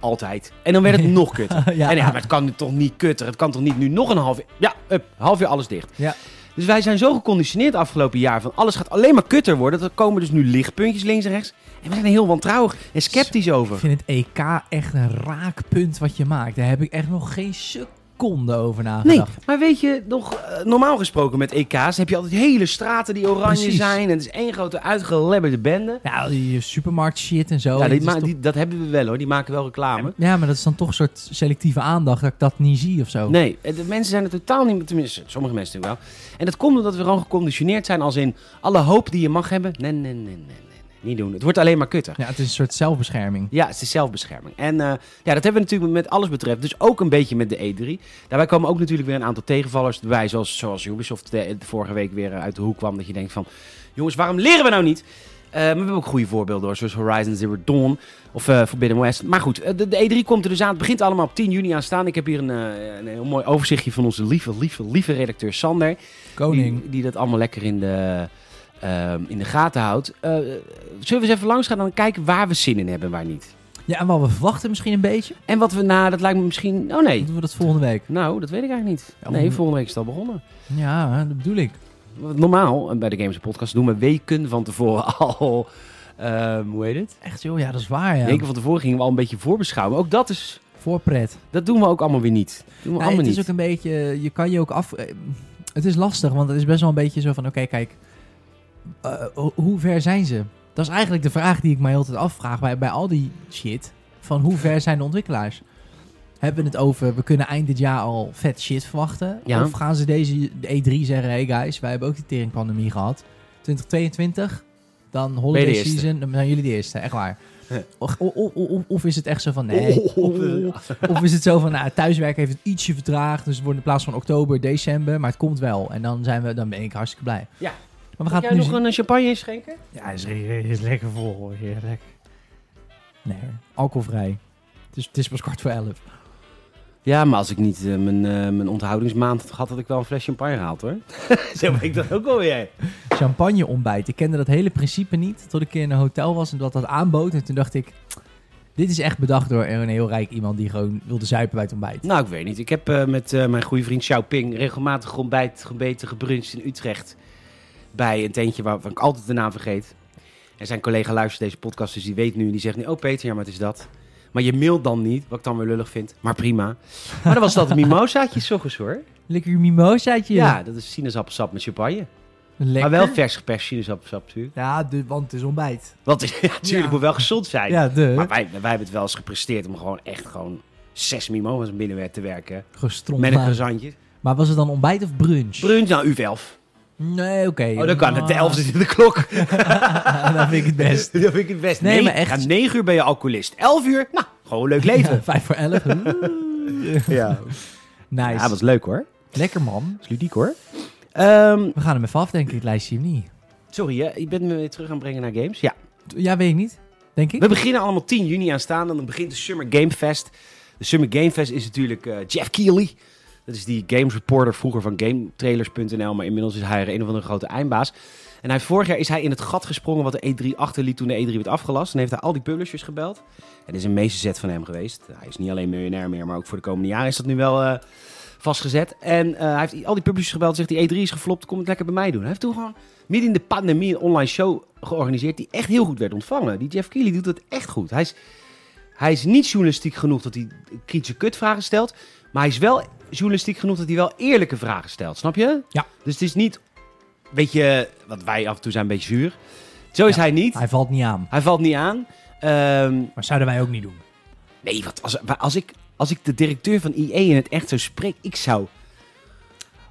Speaker 1: Altijd. En dan
Speaker 2: *laughs*
Speaker 1: werd het nog kutter.
Speaker 2: Ja.
Speaker 1: En ja, maar het kan nu toch niet kutter? Het kan toch niet nu nog een half uur? Ja, up, half uur alles dicht.
Speaker 2: Ja.
Speaker 1: Dus wij zijn zo geconditioneerd afgelopen jaar van alles gaat alleen maar kutter worden. Dat er komen dus nu lichtpuntjes links en rechts. En we zijn er heel wantrouwig en sceptisch over.
Speaker 2: Ik vind het EK echt een raakpunt wat je maakt. Daar heb ik echt nog geen seconde over
Speaker 1: Nee,
Speaker 2: nagedacht.
Speaker 1: maar weet je, nog, eh, normaal gesproken met EK's heb je altijd hele straten die oranje
Speaker 2: Precies.
Speaker 1: zijn. En het is één grote uitgelebberde bende.
Speaker 2: Nou, die supermarkt shit en zo.
Speaker 1: ja, die
Speaker 2: dat is
Speaker 1: ma-
Speaker 2: toch-
Speaker 1: die- dat hebben we wel hoor, die maken wel reclame.
Speaker 2: ja, maar dat is dan toch een soort selectieve aandacht dat ik dat niet zie of zo.
Speaker 1: Nee, eh, de mensen zijn er totaal niet, tenminste sommige mensen natuurlijk wel. En dat komt omdat we gewoon geconditioneerd zijn als in alle hoop die je mag hebben. Nee, nee, nee, nee, nee, nee, niet doen. Het wordt alleen maar kutter.
Speaker 2: Ja, het is een soort zelfbescherming.
Speaker 1: Ja, het is zelfbescherming. En eh, ja, dat hebben we natuurlijk met alles betreft. Dus ook een beetje met de E3. Daarbij komen ook natuurlijk weer een aantal tegenvallers bij. Zoals, zoals Ubisoft de, de vorige week weer eh, uit de hoek kwam. Dat je denkt van, jongens, waarom leren we nou niet? Eh, maar we hebben ook goede voorbeelden hoor. Zoals Horizon Zero Dawn of eh, Forbidden West. Maar goed, eh, de, de E3 komt er dus aan. Het begint allemaal op 10 juni aanstaan. Ik heb hier een, eh, een heel mooi overzichtje van onze lieve, lieve, lieve redacteur Sander.
Speaker 2: Koning.
Speaker 1: Die, die dat allemaal lekker in de, ehm, in de gaten houdt. Eh, zullen we eens even langs gaan en dan kijken waar we zin in hebben en waar niet?
Speaker 2: Ja, en wat we verwachten misschien een beetje.
Speaker 1: En wat we na, dat lijkt me misschien. Oh nee.
Speaker 2: Dan doen we dat volgende week.
Speaker 1: Nou, dat weet ik eigenlijk niet.
Speaker 2: Ja,
Speaker 1: Nee,
Speaker 2: om-
Speaker 1: volgende week is het al begonnen.
Speaker 2: Ja, dat bedoel ik.
Speaker 1: Want Normaal, eh, bij de Games Podcast doen we weken van tevoren *laughs* al. ehm, hoe heet het?
Speaker 2: Echt joh, ja, dat is waar ja.
Speaker 1: Weken van tevoren gingen we al een beetje voorbeschouwen. Ook dat is.
Speaker 2: Voorpret.
Speaker 1: Dat doen we ook allemaal weer niet. Dat doen we
Speaker 2: Nee,
Speaker 1: allemaal
Speaker 2: het
Speaker 1: niet.
Speaker 2: is ook een beetje, je kan je ook af... eh, Het is lastig, want het is best wel een beetje zo van, oké, kijk, eh, ho- hoe ver zijn ze? Dat is eigenlijk de vraag die ik mij altijd afvraag bij, bij al die shit. Van hoe ver zijn de ontwikkelaars? Hebben we het over, we kunnen eind dit jaar al vet shit verwachten?
Speaker 1: Ja.
Speaker 2: Of gaan ze deze E3 zeggen, hey guys, wij hebben ook die teringpandemie gehad. 2022, dan
Speaker 1: Ben
Speaker 2: holiday
Speaker 1: je de eerste?
Speaker 2: season, dan zijn jullie de eerste, echt waar.
Speaker 1: Ja.
Speaker 2: Of, of- of- of is het echt zo van, nee,
Speaker 1: Oh, oh, oh, oh.
Speaker 2: of is het zo van, nou, thuiswerken heeft het ietsje vertraagd. Dus het wordt in plaats van oktober, december. Maar het komt wel. En dan, zijn we, dan ben ik hartstikke blij.
Speaker 1: Ja.
Speaker 2: Maar we
Speaker 1: Wil
Speaker 2: gaan het
Speaker 1: jij
Speaker 2: nu
Speaker 1: nog
Speaker 2: zien.
Speaker 1: een eh, champagne inschenken?
Speaker 3: Ja, is, is lekker vol hoor, heerlijk.
Speaker 2: Nee, alcoholvrij. Het is, het is pas kwart voor elf.
Speaker 1: Ja, maar als ik niet eh, mijn, eh, mijn onthoudingsmaand had gehad, had ik wel een fles champagne gehaald hoor. *laughs* Zo ben ik dat ook wel weer.
Speaker 2: Champagne ontbijt. Ik kende dat hele principe niet. Tot ik een keer in een hotel was en dat dat aanbood. En toen dacht ik, dit is echt bedacht door een heel rijk iemand die gewoon wilde zuipen bij het ontbijt.
Speaker 1: Nou, ik weet niet. Ik heb eh, met eh, mijn goede vriend Xiaoping regelmatig ontbijt gebeten, gebruncht in Utrecht. Bij een tentje waarvan ik altijd de naam vergeet. En zijn collega luistert deze podcast, dus die weet nu. En die zegt nu, oh Peter, ja, maar het is dat. Maar je mailt dan niet, wat ik dan weer lullig vind. Maar prima. Maar dan was dat een mimosaatje, s ochtends hoor.
Speaker 2: Lekker mimosaatje.
Speaker 1: Ja, dat is sinaasappelsap met champagne.
Speaker 2: Lekker.
Speaker 1: Maar wel vers geperst sinaasappelsap natuurlijk.
Speaker 2: Ja, de, want het is ontbijt.
Speaker 1: Want *laughs* ja, natuurlijk
Speaker 2: Ja.
Speaker 1: moet wel gezond zijn.
Speaker 2: Ja, de.
Speaker 1: Maar wij, wij hebben het wel eens gepresteerd om gewoon echt gewoon zes mimo's binnen te werken.
Speaker 2: Gestrompt.
Speaker 1: Met een
Speaker 2: maar.
Speaker 1: gezantje.
Speaker 2: Maar was het dan ontbijt of brunch?
Speaker 1: Brunch nou U11.
Speaker 2: nee, oké.
Speaker 1: Oh, dan kan het. De
Speaker 2: Ah, *laughs*
Speaker 1: 11 zit in de klok. *laughs*
Speaker 2: dat vind ik het best.
Speaker 1: Dat vind ik het best.
Speaker 2: Nee,
Speaker 1: Nee,
Speaker 2: maar
Speaker 1: echt.
Speaker 2: echt.
Speaker 1: 9 uur ben je alcoholist. 11 uur, nou, gewoon een leuk *laughs* leven.
Speaker 2: Ja, Vijf voor
Speaker 1: *laughs*
Speaker 2: elf. Oeh.
Speaker 1: Ja,
Speaker 2: Nice.
Speaker 1: dat is leuk hoor. Dat
Speaker 2: Lekker man.
Speaker 1: is ludiek hoor. Ehm,
Speaker 2: We gaan hem even afdenken, dit lijstje of niet?
Speaker 1: sorry, hè? je bent me weer terug aan het brengen naar games. Ja,
Speaker 2: Ja, weet ik niet. Denk ik.
Speaker 1: we beginnen allemaal 10 juni aanstaande. En dan begint de Summer Game Fest. De Summer Game Fest is natuurlijk eh, Jeff Keighley. Dat is die games reporter vroeger van GameTrailers.nl. Maar inmiddels is hij er een of andere grote eindbaas. En hij, vorig jaar is hij in het gat gesprongen wat de E3 achterliet toen de E3 werd afgelast. En heeft hij al die publishers gebeld. Het is een meesterzet van hem geweest. Hij is niet alleen miljonair meer, maar ook voor de komende jaren is dat nu wel eh, vastgezet. En eh, hij heeft al die publishers gebeld. Zegt die E3 is geflopt, kom het lekker bij mij doen. Hij heeft toen gewoon midden in de pandemie een online show georganiseerd die echt heel goed werd ontvangen. Die Jeff Keighley doet dat echt goed. Hij is, hij is niet journalistiek genoeg dat hij kritische kutvragen stelt. Maar hij is wel journalistiek genoeg dat hij wel eerlijke vragen stelt. Snap je?
Speaker 2: Ja.
Speaker 1: Dus het is niet, weet je, wat wij af en toe zijn een beetje zuur. Zo is
Speaker 2: Ja.
Speaker 1: hij niet.
Speaker 2: Hij valt niet aan.
Speaker 1: Hij valt niet aan. Ehm,
Speaker 2: Maar zouden wij ook niet doen.
Speaker 1: Nee, wat als, maar als, ik, als ik de directeur van IE in het echt zou spreken, ik zou.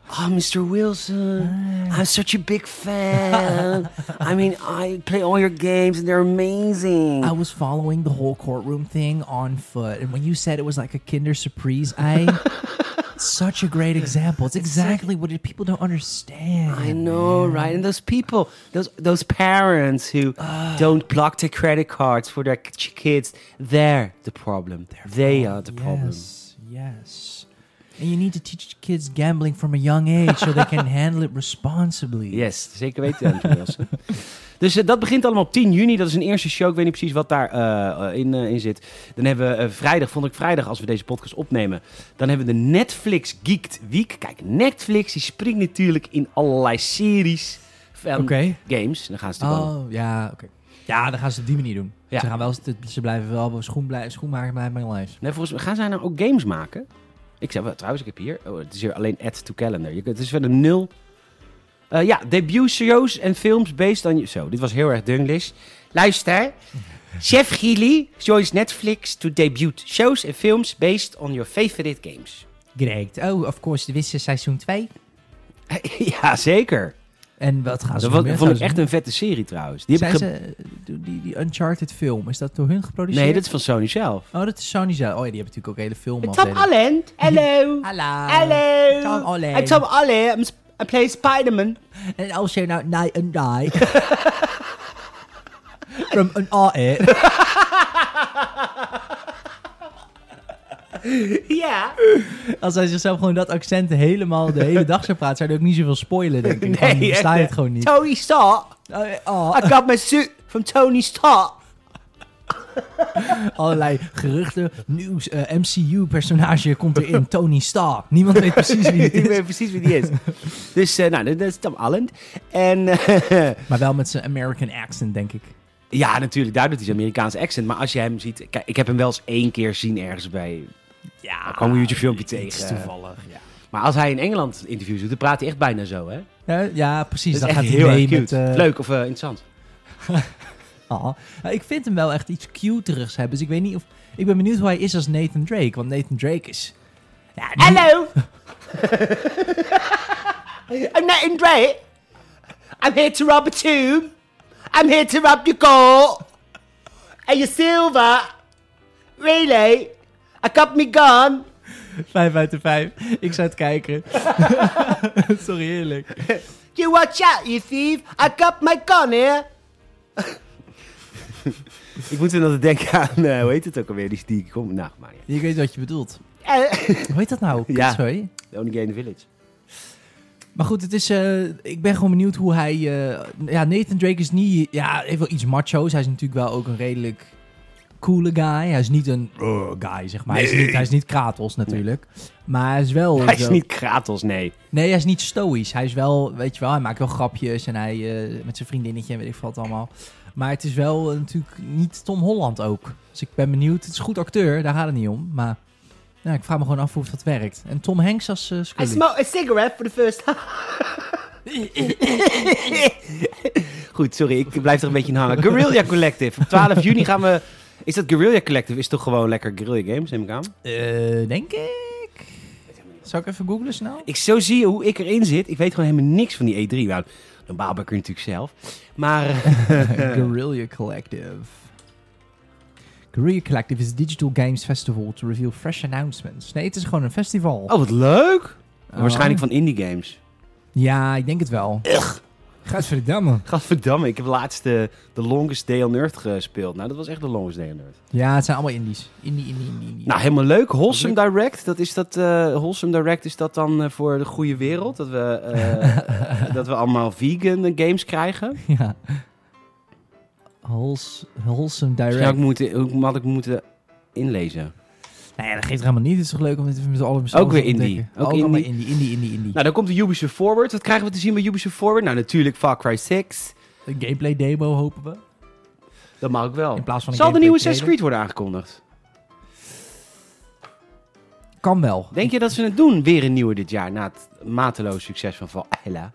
Speaker 1: Oh, Mr. Wilson, I'm such a big fan. I mean, I play all your games and they're amazing.
Speaker 2: I was following the whole courtroom thing on foot. And when you said it was like a Kinder Surprise,
Speaker 1: *laughs*
Speaker 2: I. Such a great example. It's exactly what it- people don't understand.
Speaker 1: I know, right? And those people, those those parents who don't block their credit cards for their k- kids, they're the problem. They are the problem.
Speaker 2: Yes, yes. And you need to teach kids gambling from a young age so they *laughs* can handle it responsibly.
Speaker 1: Yes, zeker weten, Anthony Wilson. *laughs* Dus eh, dat begint allemaal op 10 juni. Dat is een eerste show. Ik weet niet precies wat daar eh, eh, in, eh, in zit. Dan hebben we eh, vrijdag, vond ik vrijdag, als we deze podcast opnemen. Dan hebben we de Netflix Geeked Week. Kijk, Netflix die springt natuurlijk in allerlei series van
Speaker 2: Oké.
Speaker 1: games. Dan gaan ze natuurlijk allemaal-
Speaker 2: Oh, ja, oké. Ja, dan gaan ze het op die manier doen.
Speaker 1: Ja.
Speaker 2: Ze, gaan wel, ze blijven wel schoen blij, schoenmaker blijven bij lijst.
Speaker 1: Nee, volgens mij gaan zij nou ook games maken. Ik zei, wel, trouwens, ik heb hier. Oh, het is hier alleen add to calendar. Je, kunt- het is verder nul. Eh, ja, debut shows en films based on. Zo, dit was heel erg Dunglish.
Speaker 2: *laughs*
Speaker 1: Luister. Chef Gili joins Netflix to debut shows en films based on your favorite games. *laughs*
Speaker 2: Great. Oh, of course, de wisse seizoen 2.
Speaker 1: ja, zeker.
Speaker 2: En wat gaan ze
Speaker 1: Dat was-
Speaker 2: nog meer
Speaker 1: vond ik
Speaker 2: gaan
Speaker 1: echt
Speaker 2: ze
Speaker 1: een vette serie trouwens. Die heb
Speaker 2: doen?
Speaker 1: ik
Speaker 2: Zijn ze, eh, die, die- die Uncharted film, is dat door hun
Speaker 1: ge-
Speaker 2: geproduceerd?
Speaker 1: nee, dat is van Sony zelf.
Speaker 2: Oh, dat is Sony zelf. Oh ja, die hebben natuurlijk ook hele film.
Speaker 1: Tom Holland,
Speaker 2: *laughs*
Speaker 1: hello.
Speaker 2: Hallo.
Speaker 1: Hello.
Speaker 2: Ah, Tom Holland.
Speaker 1: I'm Tom Holland. I'm sp- I play Spider-Man. *laughs*
Speaker 2: En als je nou night and die. *laughs* From an art.
Speaker 1: Ja.
Speaker 2: *laughs* Als hij zichzelf gewoon dat accent helemaal de hele dag zou praten, zou hij ook niet zoveel spoilen, denk ik. Nee,
Speaker 1: echt,
Speaker 2: versta je
Speaker 1: hè.
Speaker 2: Oh, het gewoon niet.
Speaker 1: Tony Stark.
Speaker 2: Oh, eh, oh,
Speaker 1: I got my suit from Tony
Speaker 2: *laughs*
Speaker 1: Stark.
Speaker 2: allerlei geruchten, nieuws, eh, MCU-personage komt *laughs* erin. Tony Stark. Niemand weet precies wie het
Speaker 1: Ik
Speaker 2: is.
Speaker 1: weet precies wie die is. dus eh, nou, dat dat is Tom Allen. En eh, *laughs*
Speaker 2: Maar wel met zijn American accent, denk ik.
Speaker 1: ja, natuurlijk, daar doet hij zijn Amerikaanse accent. Maar als je hem ziet... Kijk, ik heb hem wel eens één keer zien ergens bij... Ja, kwam een YouTube-filmpje tegen.
Speaker 2: Ah,
Speaker 1: eh,
Speaker 2: toevallig, ja.
Speaker 1: Maar als hij in Engeland interviews doet, dan praat hij echt bijna zo, hè?
Speaker 2: Ja, ja, precies.
Speaker 1: Dat is
Speaker 2: Dus Dan
Speaker 1: echt
Speaker 2: gaat
Speaker 1: heel
Speaker 2: hij mee
Speaker 1: erg
Speaker 2: met...
Speaker 1: cute.
Speaker 2: eh,
Speaker 1: Leuk of eh, interessant.
Speaker 2: ah. Nou, ik vind hem wel echt iets cuterigs hebben. Dus ik weet niet of... Ik ben benieuwd hoe hij is als Nathan Drake. Want Nathan Drake is... Ja, die-
Speaker 1: Hello! I'm not in Drake. I'm here to rob a tomb. I'm here to rob your gold. And your silver. Really? I got me gun.
Speaker 2: Vijf uit de vijf. Ik zou het kijken. *laughs* Sorry, eerlijk.
Speaker 1: You watch out, you thief. I got my gun here. Ik moet inderdaad denken aan, eh, hoe heet het ook alweer, die die kom, nou, maar
Speaker 2: Ik weet wat je bedoelt.
Speaker 1: ja.
Speaker 2: Hoe heet dat nou?
Speaker 1: Ja.
Speaker 2: Sorry.
Speaker 1: The Only Game in the Village.
Speaker 2: Maar goed, het is, eh, ik ben gewoon benieuwd hoe hij... eh, ja, Nathan Drake is niet... Ja, hij heeft wel iets macho's. Hij is natuurlijk wel ook een redelijk coole guy. Hij is niet een eh, guy, zeg maar. Hij, is niet, hij is niet Kratos natuurlijk. Maar hij is wel...
Speaker 1: Hij is
Speaker 2: zo-
Speaker 1: niet Kratos, nee.
Speaker 2: Nee, hij is niet stoïsch. Hij is wel, weet je wel, hij maakt wel grapjes en hij eh, met zijn vriendinnetje en weet ik veel wat allemaal. Maar het is wel eh, natuurlijk niet Tom Holland ook. Dus ik ben benieuwd. Het is een goed acteur, daar gaat het niet om. Maar nou, ik vraag me gewoon af hoe dat werkt. En Tom Hanks als eh Scully.
Speaker 1: smoked a cigarette for the first time. *laughs* Goed, sorry, ik blijf er een beetje in hangen. Guerrilla Collective. Op 12 juni gaan we... Is dat Guerrilla Collective? Is toch gewoon lekker Guerrilla Games, neem ik aan?
Speaker 2: Eh, denk ik. Zal ik even
Speaker 1: *laughs*
Speaker 2: googlen snel?
Speaker 1: Ik zo zie je hoe ik erin zit. Ik weet gewoon helemaal niks van die E3. Nou, dan baal ik er natuurlijk zelf. Maar... *laughs*
Speaker 2: Guerrilla Collective. Guerrilla Collective is a digital games festival to reveal fresh announcements. Nee, het is gewoon een festival.
Speaker 1: Oh, wat leuk!
Speaker 2: Oh.
Speaker 1: Waarschijnlijk van indie games.
Speaker 2: Ja, ik denk het wel.
Speaker 3: Gadverdamme.
Speaker 1: Gadverdamme, ik heb laatst de, de Longest Day on Earth gespeeld. Nou, dat was echt de Longest Day on Earth.
Speaker 2: Ja, het zijn allemaal indies. Indie, indie, indie. indie.
Speaker 1: Nou, helemaal leuk. Wholesome Direct, dat is dat, eh Wholesome Direct is dat dan eh, voor de goede wereld? Dat we,
Speaker 2: *laughs*
Speaker 1: eh, dat we allemaal vegan eh, games krijgen?
Speaker 2: *laughs* Ja. Wholes- wholesome
Speaker 1: Zou ik
Speaker 2: Direct.
Speaker 1: moeten, hoe had ik moeten inlezen?
Speaker 2: Nee, dat geeft helemaal niet. Het is toch leuk om dit even met alle
Speaker 1: Ook weer indie. Ook
Speaker 2: Ook,
Speaker 1: indie.
Speaker 2: allemaal indie, indie, indie, indie.
Speaker 1: Nou, dan komt de Ubisoft Forward. Wat krijgen we te zien bij Ubisoft Forward? Nou, natuurlijk Far Cry 6.
Speaker 2: Een gameplay demo hopen we.
Speaker 1: Dat mag ik wel.
Speaker 2: In plaats van een
Speaker 1: Oh. Zal de
Speaker 2: gameplay
Speaker 1: nieuwe Assassin's
Speaker 2: trailer.
Speaker 1: Creed worden aangekondigd?
Speaker 2: Kan wel.
Speaker 1: Denk je dat ze het doen? Weer een nieuwe dit jaar na het mateloos succes van Valhalla.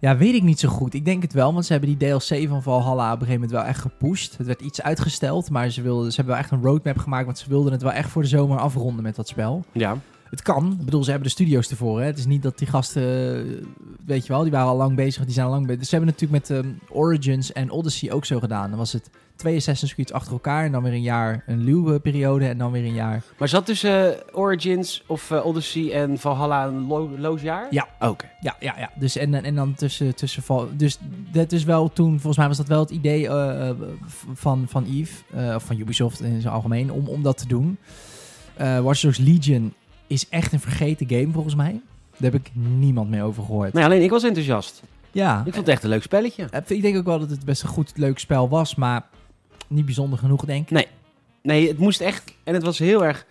Speaker 2: Ja, weet ik niet zo goed. Ik denk het wel, want ze hebben die DLC van Valhalla op een gegeven moment wel echt gepusht. Het werd iets uitgesteld, maar ze, wilden, ze hebben wel echt een roadmap gemaakt, want ze wilden het wel echt voor de zomer afronden met dat spel.
Speaker 1: Ja.
Speaker 2: Het kan. Ik bedoel, ze hebben de studio's ervoor. Hè? Het is niet dat die gasten, eh, weet je wel, die waren al lang bezig. Die zijn al lang bezig. Dus ze hebben natuurlijk met ehm, Origins en Odyssey ook zo gedaan. Dan was het twee Assassin's Creed achter elkaar en dan weer een jaar een luwe periode en dan weer een jaar.
Speaker 1: Maar zat tussen eh, Origins of eh, Odyssey en Valhalla een lo- loos jaar?
Speaker 2: Ja.
Speaker 1: Oké.
Speaker 2: Ja, ja, ja. Dus en, en, en dan tussen, tussen val. Dus dat is wel toen, volgens mij was dat wel het idee eh, eh, v- van, van Eve, eh, of van Ubisoft in zijn algemeen, om, om dat te doen. Eh Watch Dogs Legion is echt een vergeten game volgens mij. Daar heb ik niemand meer over gehoord.
Speaker 1: Nee, alleen ik was enthousiast.
Speaker 2: Ja,
Speaker 1: Ik vond het echt een leuk spelletje.
Speaker 2: Eh, ik denk ook wel dat het best een goed, leuk spel was, maar niet bijzonder genoeg, denk ik.
Speaker 1: Nee, het moest echt... En het was heel erg...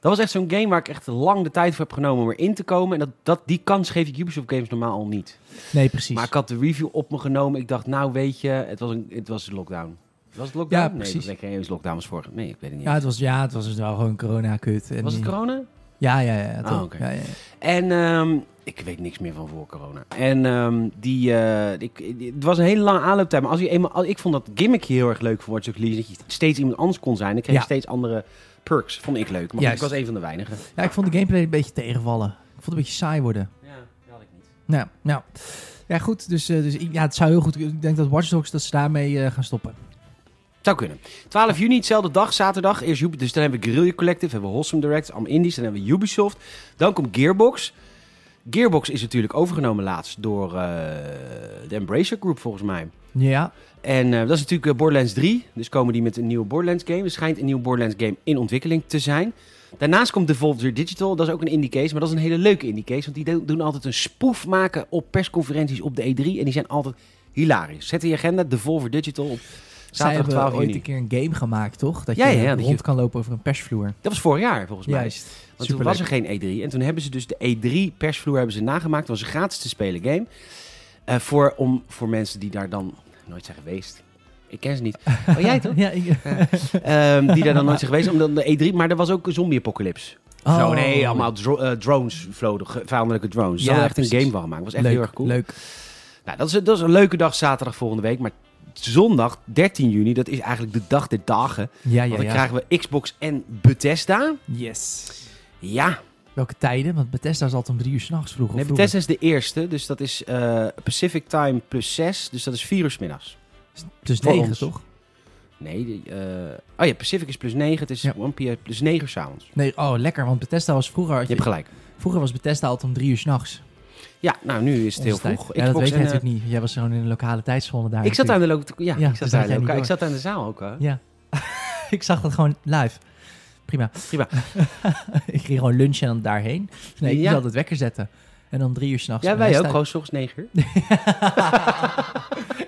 Speaker 1: Dat was echt zo'n game waar ik echt lang de tijd voor heb genomen om erin te komen. En dat, dat, die kans geef ik Ubisoft games normaal al niet.
Speaker 2: Nee, precies.
Speaker 1: Maar ik had de review op me genomen. Ik dacht, nou weet je, het was, een, het was de lockdown. Was het lockdown?
Speaker 2: Ja,
Speaker 1: Nee,
Speaker 2: precies.
Speaker 1: dat was geen eens lockdown was vorige. Nee, ik weet het niet.
Speaker 2: ja, het was, ja, het was dus wel gewoon corona-kut. En
Speaker 1: was het
Speaker 2: die-
Speaker 1: corona?
Speaker 2: Ja, ja, ja. toch.
Speaker 1: Ah, oké.
Speaker 2: ja, ja.
Speaker 1: En ehm, ik weet niks meer van voor corona. En ehm, die, eh, ik, die- het was een hele lange aanlooptijd. Maar als je eenmaal, al- ik vond dat gimmickje heel erg leuk voor Watch Dogs Legion. Dat je steeds iemand anders kon zijn. Dan kreeg je
Speaker 2: Ja.
Speaker 1: steeds andere perks. Vond ik leuk. Maar goed, ik
Speaker 2: Juist.
Speaker 1: was een van de weinigen.
Speaker 2: Ja, ik vond de gameplay een beetje tegenvallen. Ik vond het een beetje saai worden.
Speaker 1: Ja, dat had ik niet.
Speaker 2: Nou, nou. Ja, goed. Dus, eh, dus ik- ja, het zou heel goed... Ik denk dat Watch Dogs dat ze daarmee eh, gaan stoppen.
Speaker 1: Zou kunnen. 12 juni, hetzelfde dag, zaterdag. Eerst Ubisoft. Dus dan hebben we Guerrilla Collective, hebben we Wholesome Direct, Am Indies, dan hebben we Ubisoft. Dan komt Gearbox. Gearbox is natuurlijk overgenomen laatst door eh, de Embracer Group, volgens mij.
Speaker 2: Ja.
Speaker 1: En eh, dat is natuurlijk eh, Borderlands 3. Dus komen die met een nieuwe Borderlands game. Er schijnt een nieuwe Borderlands game in ontwikkeling te zijn. Daarnaast komt Devolver Digital. Dat is ook een indie case, maar dat is een hele leuke indie case. Want die do- doen altijd een spoef maken op persconferenties op de E3. En die zijn altijd hilarisch. Zet in je agenda Devolver Digital op
Speaker 2: Zij
Speaker 1: zaterdag
Speaker 2: hebben
Speaker 1: 12
Speaker 2: ooit
Speaker 1: juni.
Speaker 2: een keer een game gemaakt, toch? Dat je
Speaker 1: Ja, ja, ja, dat
Speaker 2: rond
Speaker 1: je-
Speaker 2: kan lopen over een persvloer.
Speaker 1: Dat was vorig jaar volgens mij.
Speaker 2: Juist.
Speaker 1: Want toen
Speaker 2: Superleuk.
Speaker 1: was er geen E3. En toen hebben ze dus de E3 persvloer hebben ze nagemaakt. Het was een gratis te spelen game. Eh, voor, om, voor mensen die daar dan nooit zijn geweest. Ik ken ze niet. Oh, jij toch?
Speaker 2: *laughs* Ja, ik...
Speaker 1: Ehm, die daar dan
Speaker 2: *laughs*
Speaker 1: nooit zijn geweest. Omdat de E3, maar er was ook een zombie-apocalypse.
Speaker 2: Oh,
Speaker 1: Zo, nee, allemaal dro- eh, drones vlogen, ge- vijandelijke drones. Ze
Speaker 2: Ja,
Speaker 1: hadden echt een
Speaker 2: precies.
Speaker 1: game van gemaakt. Was echt
Speaker 2: Leuk,
Speaker 1: heel erg cool.
Speaker 2: leuk.
Speaker 1: Nou, dat, is, dat is een leuke dag zaterdag volgende week. Maar zondag 13 juni, dat is eigenlijk de dag der dagen.
Speaker 2: Ja, ja,
Speaker 1: Want dan
Speaker 2: ja.
Speaker 1: krijgen we Xbox en Bethesda.
Speaker 2: Yes.
Speaker 1: Ja,
Speaker 2: Welke tijden? Want Bethesda is altijd om drie uur s'nachts vroeg. of
Speaker 1: nee,
Speaker 2: vroeger.
Speaker 1: Bethesda is de eerste. Dus dat is eh, Pacific Time plus 6. Dus dat is 4 uur 's middags.
Speaker 2: Dus
Speaker 1: voor
Speaker 2: negen,
Speaker 1: ons.
Speaker 2: toch?
Speaker 1: Nee, die, eh, oh ja, Pacific is plus 9. Het is
Speaker 2: Ja.
Speaker 1: 1 p.m. plus 9 dus uur s'avonds.
Speaker 2: Nee, oh, lekker. Want Bethesda was vroeger... had
Speaker 1: Je
Speaker 2: je-
Speaker 1: hebt gelijk.
Speaker 2: vroeger was Bethesda altijd om drie uur s'nachts.
Speaker 1: Ja, nou nu is het heel
Speaker 2: Onze tijd.
Speaker 1: vroeg.
Speaker 2: Ja, dat
Speaker 1: Xbox
Speaker 2: weet je
Speaker 1: en, eh,
Speaker 2: natuurlijk niet. want Jij was gewoon in de lokale tijdzone daar.
Speaker 1: Ik zat aan de loka- ja,
Speaker 2: Ja,
Speaker 1: ik
Speaker 2: dus
Speaker 1: zat aan
Speaker 2: had
Speaker 1: de
Speaker 2: jij niet
Speaker 1: loka- ik
Speaker 2: door.
Speaker 1: zat aan de zaal ook. Hè?
Speaker 2: Ja. *laughs* natuurlijk. Ik zag dat gewoon live. Prima.
Speaker 1: Prima.
Speaker 2: *laughs* ik ging gewoon lunchen en dan daarheen. Nee, ik
Speaker 1: Ja.
Speaker 2: moest altijd wekker zetten. En dan drie uur s'nachts.
Speaker 1: Ja, wij ook. Gewoon s'ochtends 9 uur.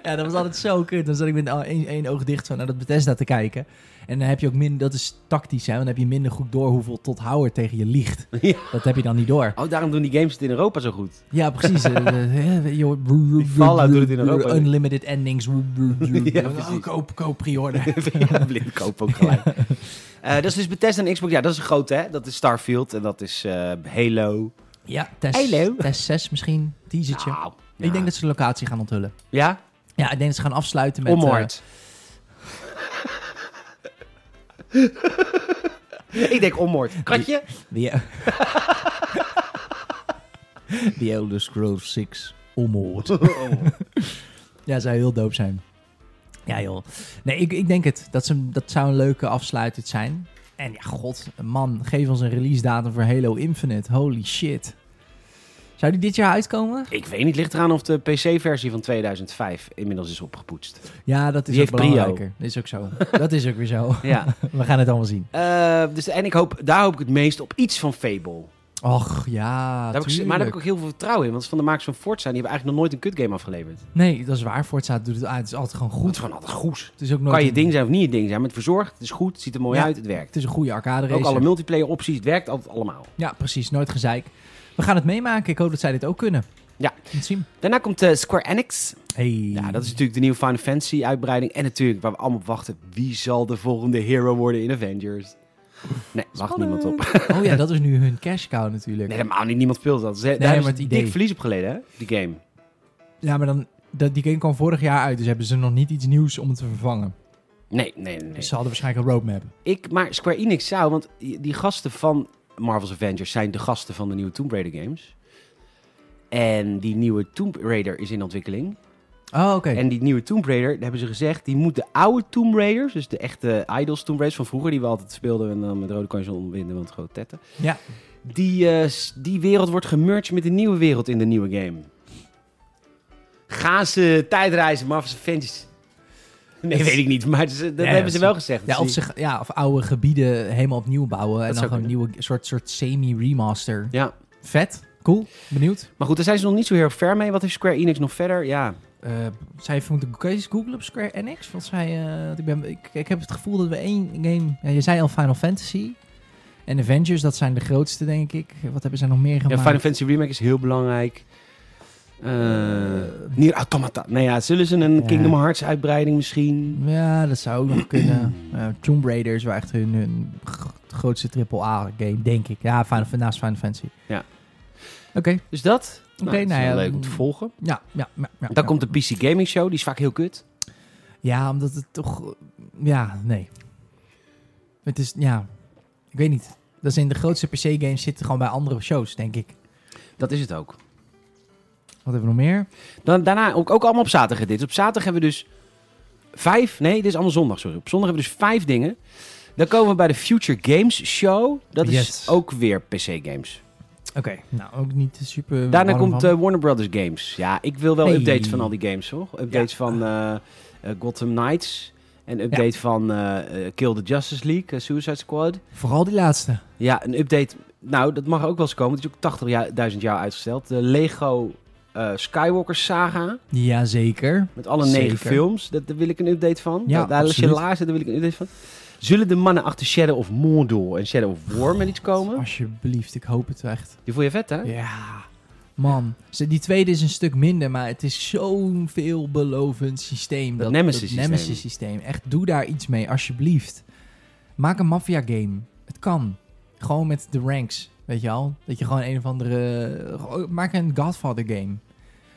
Speaker 2: ja, dat was altijd zo kut. Dan zat ik met al- één, één oog dicht zo naar dat Bethesda te kijken. En dan heb je ook minder... Dat is tactisch, hè. want Dan heb je minder goed door hoeveel tot Howard tegen je liegt.
Speaker 1: *laughs* Ja.
Speaker 2: Dat heb je dan niet door.
Speaker 1: Oh, daarom doen die games het in Europa zo
Speaker 2: *laughs*
Speaker 1: goed. *laughs*
Speaker 2: Ja, precies. Eh, eh, eh, je hoort-
Speaker 1: Fallout doet het in Europa.
Speaker 2: Unlimited endings.
Speaker 1: *laughs* Ja,
Speaker 2: Oh,
Speaker 1: precies.
Speaker 2: koop, koop,
Speaker 1: *laughs*
Speaker 2: pre-order.
Speaker 1: ja, blind koop ook gelijk. Eh, dat is dus Bethesda en Xbox. Ja, dat is groot, hè? Dat is Starfield en dat is eh, Halo.
Speaker 2: Ja, test,
Speaker 1: Hallo.
Speaker 2: test 6 misschien. Teasertje.
Speaker 1: Nou,
Speaker 2: Ik denk dat ze de locatie gaan onthullen.
Speaker 1: Ja?
Speaker 2: Ja, ik denk dat ze gaan afsluiten met... eh,
Speaker 1: Ommoord. *laughs* ik denk ommoord.
Speaker 2: *laughs*
Speaker 1: Katje?
Speaker 2: eh,
Speaker 1: *laughs*
Speaker 2: the, The Elder Scrolls 6. Omhoord. Ja, zou heel doop zijn. Ja, joh. Nee, ik, ik denk het. Dat, ze, dat zou een leuke afsluitend zijn. En ja, god, man, geef ons een release datum voor Halo Infinite. Holy shit. Zou die dit jaar uitkomen?
Speaker 1: ik weet niet, ligt eraan of de PC-versie van 2005 inmiddels is
Speaker 2: *laughs*
Speaker 1: opgepoetst.
Speaker 2: Ja, dat is
Speaker 1: Die
Speaker 2: ook
Speaker 1: heeft prio.
Speaker 2: belangrijker. Dat is ook zo. *laughs* dat is ook weer zo.
Speaker 1: Ja.
Speaker 2: We gaan het allemaal zien.
Speaker 1: Eh, dus, en ik hoop, daar hoop ik het meest op iets van Fable.
Speaker 2: Och, ja,
Speaker 1: Daar heb ik, maar daar heb ik ook heel veel vertrouwen in. Want van de makers van Forza, die hebben eigenlijk nog nooit een kutgame afgeleverd.
Speaker 2: Nee, dat is waar. Forza doet het uit. Het is altijd gewoon
Speaker 1: Het is
Speaker 2: goed.
Speaker 1: gewoon altijd goed.
Speaker 2: Het is ook nooit
Speaker 1: Kan je
Speaker 2: een-
Speaker 1: ding zijn of niet je ding zijn, maar het verzorgt, het is goed, het ziet er mooi
Speaker 2: Ja.
Speaker 1: uit, het werkt.
Speaker 2: Het is een goede arcade race.
Speaker 1: Ook alle multiplayer opties, het werkt altijd allemaal.
Speaker 2: Ja, precies. Nooit gezeik. We gaan het meemaken. Ik hoop dat zij dit ook kunnen.
Speaker 1: Ja.
Speaker 2: We gaan Het zien.
Speaker 1: Daarna komt eh, Square Enix.
Speaker 2: Hey.
Speaker 1: Ja, dat is natuurlijk de nieuwe Final Fantasy uitbreiding. En natuurlijk, waar we allemaal op wachten, wie zal de volgende hero worden in Avengers? Nee, wacht niemand op. *laughs*
Speaker 2: Oh ja, dat is nu hun cash cow natuurlijk.
Speaker 1: Nee, helemaal niet. Niemand speelt dat. Ze, daar
Speaker 2: maar
Speaker 1: hebben ze
Speaker 2: het idee.
Speaker 1: dik verlies op geleden, hè? Die game.
Speaker 2: Ja, maar dan, dat, die game kwam vorig jaar uit, dus hebben ze nog niet iets nieuws om het te vervangen.
Speaker 1: Nee, nee, nee. nee.
Speaker 2: Dus ze hadden waarschijnlijk een roadmap.
Speaker 1: Ik, maar Square Enix zou, want die die gasten van Marvel's Avengers zijn de gasten van de nieuwe Tomb Raider games. En die nieuwe Tomb Raider is in ontwikkeling.
Speaker 2: Oh, oké.
Speaker 1: En die nieuwe Tomb Raider, daar hebben ze gezegd, die moet de oude Tomb Raiders, dus de echte Idols Tomb Raiders van vroeger, die we altijd speelden en dan met rode kanjes omwinden, want grote tetten.
Speaker 2: Ja.
Speaker 1: Die, eh, s- die wereld wordt gemerged met de nieuwe wereld in de nieuwe game. Gaan ze tijdreizen, Marvel's Avengers? Nee, weet ik niet, maar ze- dat
Speaker 2: Ja,
Speaker 1: hebben
Speaker 2: dat
Speaker 1: ze
Speaker 2: is-
Speaker 1: wel gezegd.
Speaker 2: Ja, of,
Speaker 1: Dus die-
Speaker 2: zich, ja, of oude gebieden helemaal opnieuw bouwen. en dan
Speaker 1: zou
Speaker 2: gewoon een nieuwe soort, soort semi-remaster.
Speaker 1: ja.
Speaker 2: Vet. Cool. Benieuwd.
Speaker 1: Maar goed, daar zijn ze nog niet zo heel erg ver mee. Wat heeft Square Enix nog verder? Ja,
Speaker 2: Eh zij even moeten kun je eens googlen op Square Enix. Want zij, eh, want ik, ben, ik, ik heb het gevoel dat we één game... Ja, je zei al Final Fantasy. En Avengers, dat zijn de grootste, denk ik. Wat hebben zij nog meer
Speaker 1: ja
Speaker 2: gemaakt?
Speaker 1: Final Fantasy Remake is heel belangrijk. Eh Nier Automata. Nou ja, zullen ze een
Speaker 2: Ja.
Speaker 1: Kingdom Hearts uitbreiding misschien?
Speaker 2: Ja, dat zou ook nog *clears throat* kunnen. Eh, Tomb Raider is wel echt hun, hun g- grootste AAA-game, denk ik. Ja, Final, naast Final Fantasy.
Speaker 1: Ja.
Speaker 2: Oké,
Speaker 1: Dus dat?
Speaker 2: Oké,
Speaker 1: dat is
Speaker 2: nou
Speaker 1: wel
Speaker 2: ja,
Speaker 1: leuk om te volgen.
Speaker 2: ja, ja, ja, ja.
Speaker 1: Dan
Speaker 2: ja.
Speaker 1: komt de PC Gaming Show. Die is vaak heel kut.
Speaker 2: Ja, omdat het toch... Ja, nee. Het is, ja... Ik weet niet. Dat is in de grootste PC-games zitten gewoon bij andere shows, denk ik.
Speaker 1: Dat is het ook.
Speaker 2: Wat hebben we nog meer?
Speaker 1: Dan, daarna ook, ook allemaal op zaterdag dit. Op zaterdag hebben we dus vijf... Nee, dit is allemaal zondag, sorry. Op zondag hebben we dus vijf dingen. Dan komen we bij de Future Games Show. Dat is
Speaker 2: Yes.
Speaker 1: ook weer PC Games.
Speaker 2: Oké, nou, ook niet super...
Speaker 1: Daarna
Speaker 2: warm
Speaker 1: komt
Speaker 2: van.
Speaker 1: eh, Warner Brothers Games. Ja, ik wil wel
Speaker 2: Hey.
Speaker 1: updates van al die games, hoor. Updates van eh, eh, Gotham Knights. En update van eh, eh, Kill the Justice League, eh, Suicide Squad.
Speaker 2: Vooral die laatste.
Speaker 1: Ja, een update... Nou, dat mag ook wel eens komen. Het is ook 80.000 jaar, duizend jaar uitgesteld. De Lego eh, Skywalker Saga.
Speaker 2: Jazeker.
Speaker 1: Met alle negen
Speaker 2: Zeker.
Speaker 1: films. Dat, daar wil ik een update van.
Speaker 2: Ja,
Speaker 1: Ja, daar als je
Speaker 2: absoluut.
Speaker 1: laarzen, daar wil ik een update van. Zullen de mannen achter Shadow of Mordor en Shadow of War met iets komen?
Speaker 2: Alsjeblieft, ik hoop het echt.
Speaker 1: Die vond je vet, hè? *laughs*
Speaker 2: Ja, man. Ze- Die tweede is een stuk minder, maar het is zo'n veelbelovend systeem.
Speaker 1: Dat Nemesis-systeem.
Speaker 2: systeem. Echt, doe daar iets mee, alsjeblieft. Maak een maffia game. Het kan. Gewoon met de ranks, weet je al? Dat je gewoon een of andere... gewoon- Maak een Godfather game.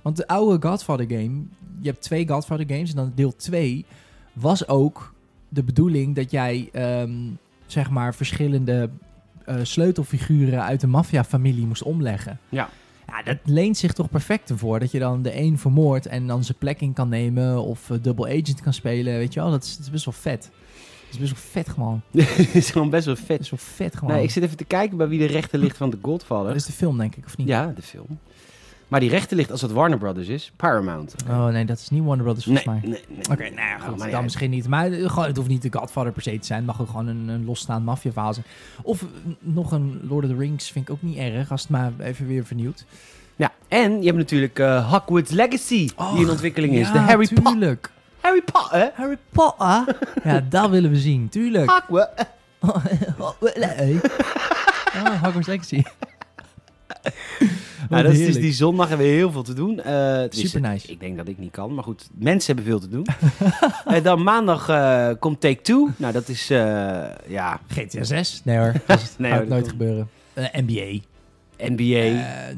Speaker 2: Want de oude Godfather game... Je hebt twee Godfather games en dan deel 2 was ook de bedoeling dat jij, ehm, zeg maar, verschillende eh, sleutelfiguren uit de maffiafamilie moest omleggen.
Speaker 1: Ja.
Speaker 2: Ja, dat leent zich toch perfect ervoor. Dat je dan de een vermoordt en dan zijn plek in kan nemen. Of eh, double agent kan spelen. Weet je wel, dat is, dat is best wel vet. Dat is best wel vet gewoon.
Speaker 1: Die is gewoon best wel
Speaker 2: Dat
Speaker 1: vet.
Speaker 2: is wel vet gewoon.
Speaker 1: Nee, ik zit even te kijken bij wie de rechter ligt van The
Speaker 2: Dat
Speaker 1: Godfather.
Speaker 2: is de film, denk ik, of niet?
Speaker 1: Ja, de film. Maar die rechter ligt, als dat Warner Brothers is, Paramount.
Speaker 2: Oh nee, dat is niet Warner Brothers
Speaker 1: Nee,
Speaker 2: volgens
Speaker 1: nee,
Speaker 2: mij.
Speaker 1: nee.
Speaker 2: Oké, nou ja,
Speaker 1: Nou,
Speaker 2: goed.
Speaker 1: maar
Speaker 2: dan
Speaker 1: ja.
Speaker 2: misschien niet. Maar eh, gewoon, het hoeft niet de Godfather per se te zijn. Het mag ook gewoon een, een losstaand maffiaverhaal zijn. Of eh, nog een Lord of the Rings vind ik ook niet erg. Als het maar even weer vernieuwd.
Speaker 1: Ja, en je hebt natuurlijk eh Hogwarts Legacy,
Speaker 2: Och,
Speaker 1: die in ontwikkeling is.
Speaker 2: Oh, Ja,
Speaker 1: de Harry Potter.
Speaker 2: tuurlijk.
Speaker 1: Harry Potter.
Speaker 2: Harry Potter? ja, dat willen we zien.
Speaker 1: Ah,
Speaker 2: Tuurlijk.
Speaker 1: Hogwarts.
Speaker 2: *laughs* oh, Hogwarts Legacy.
Speaker 1: Nou, dat is dus
Speaker 2: Heerlijk.
Speaker 1: die zondag hebben we heel veel te doen. Eh, tenminste,
Speaker 2: Super nice.
Speaker 1: Ik denk dat ik niet kan, maar goed, mensen hebben veel te doen. *laughs* en dan maandag eh, komt Take Two. Nou, dat is, eh, ja,
Speaker 2: GTA 6? Nee hoor, dat
Speaker 1: *laughs* Nee,
Speaker 2: gaat
Speaker 1: hoor,
Speaker 2: nooit
Speaker 1: dat-
Speaker 2: gebeuren. Eh, NBA.
Speaker 1: NBA.
Speaker 2: Eh,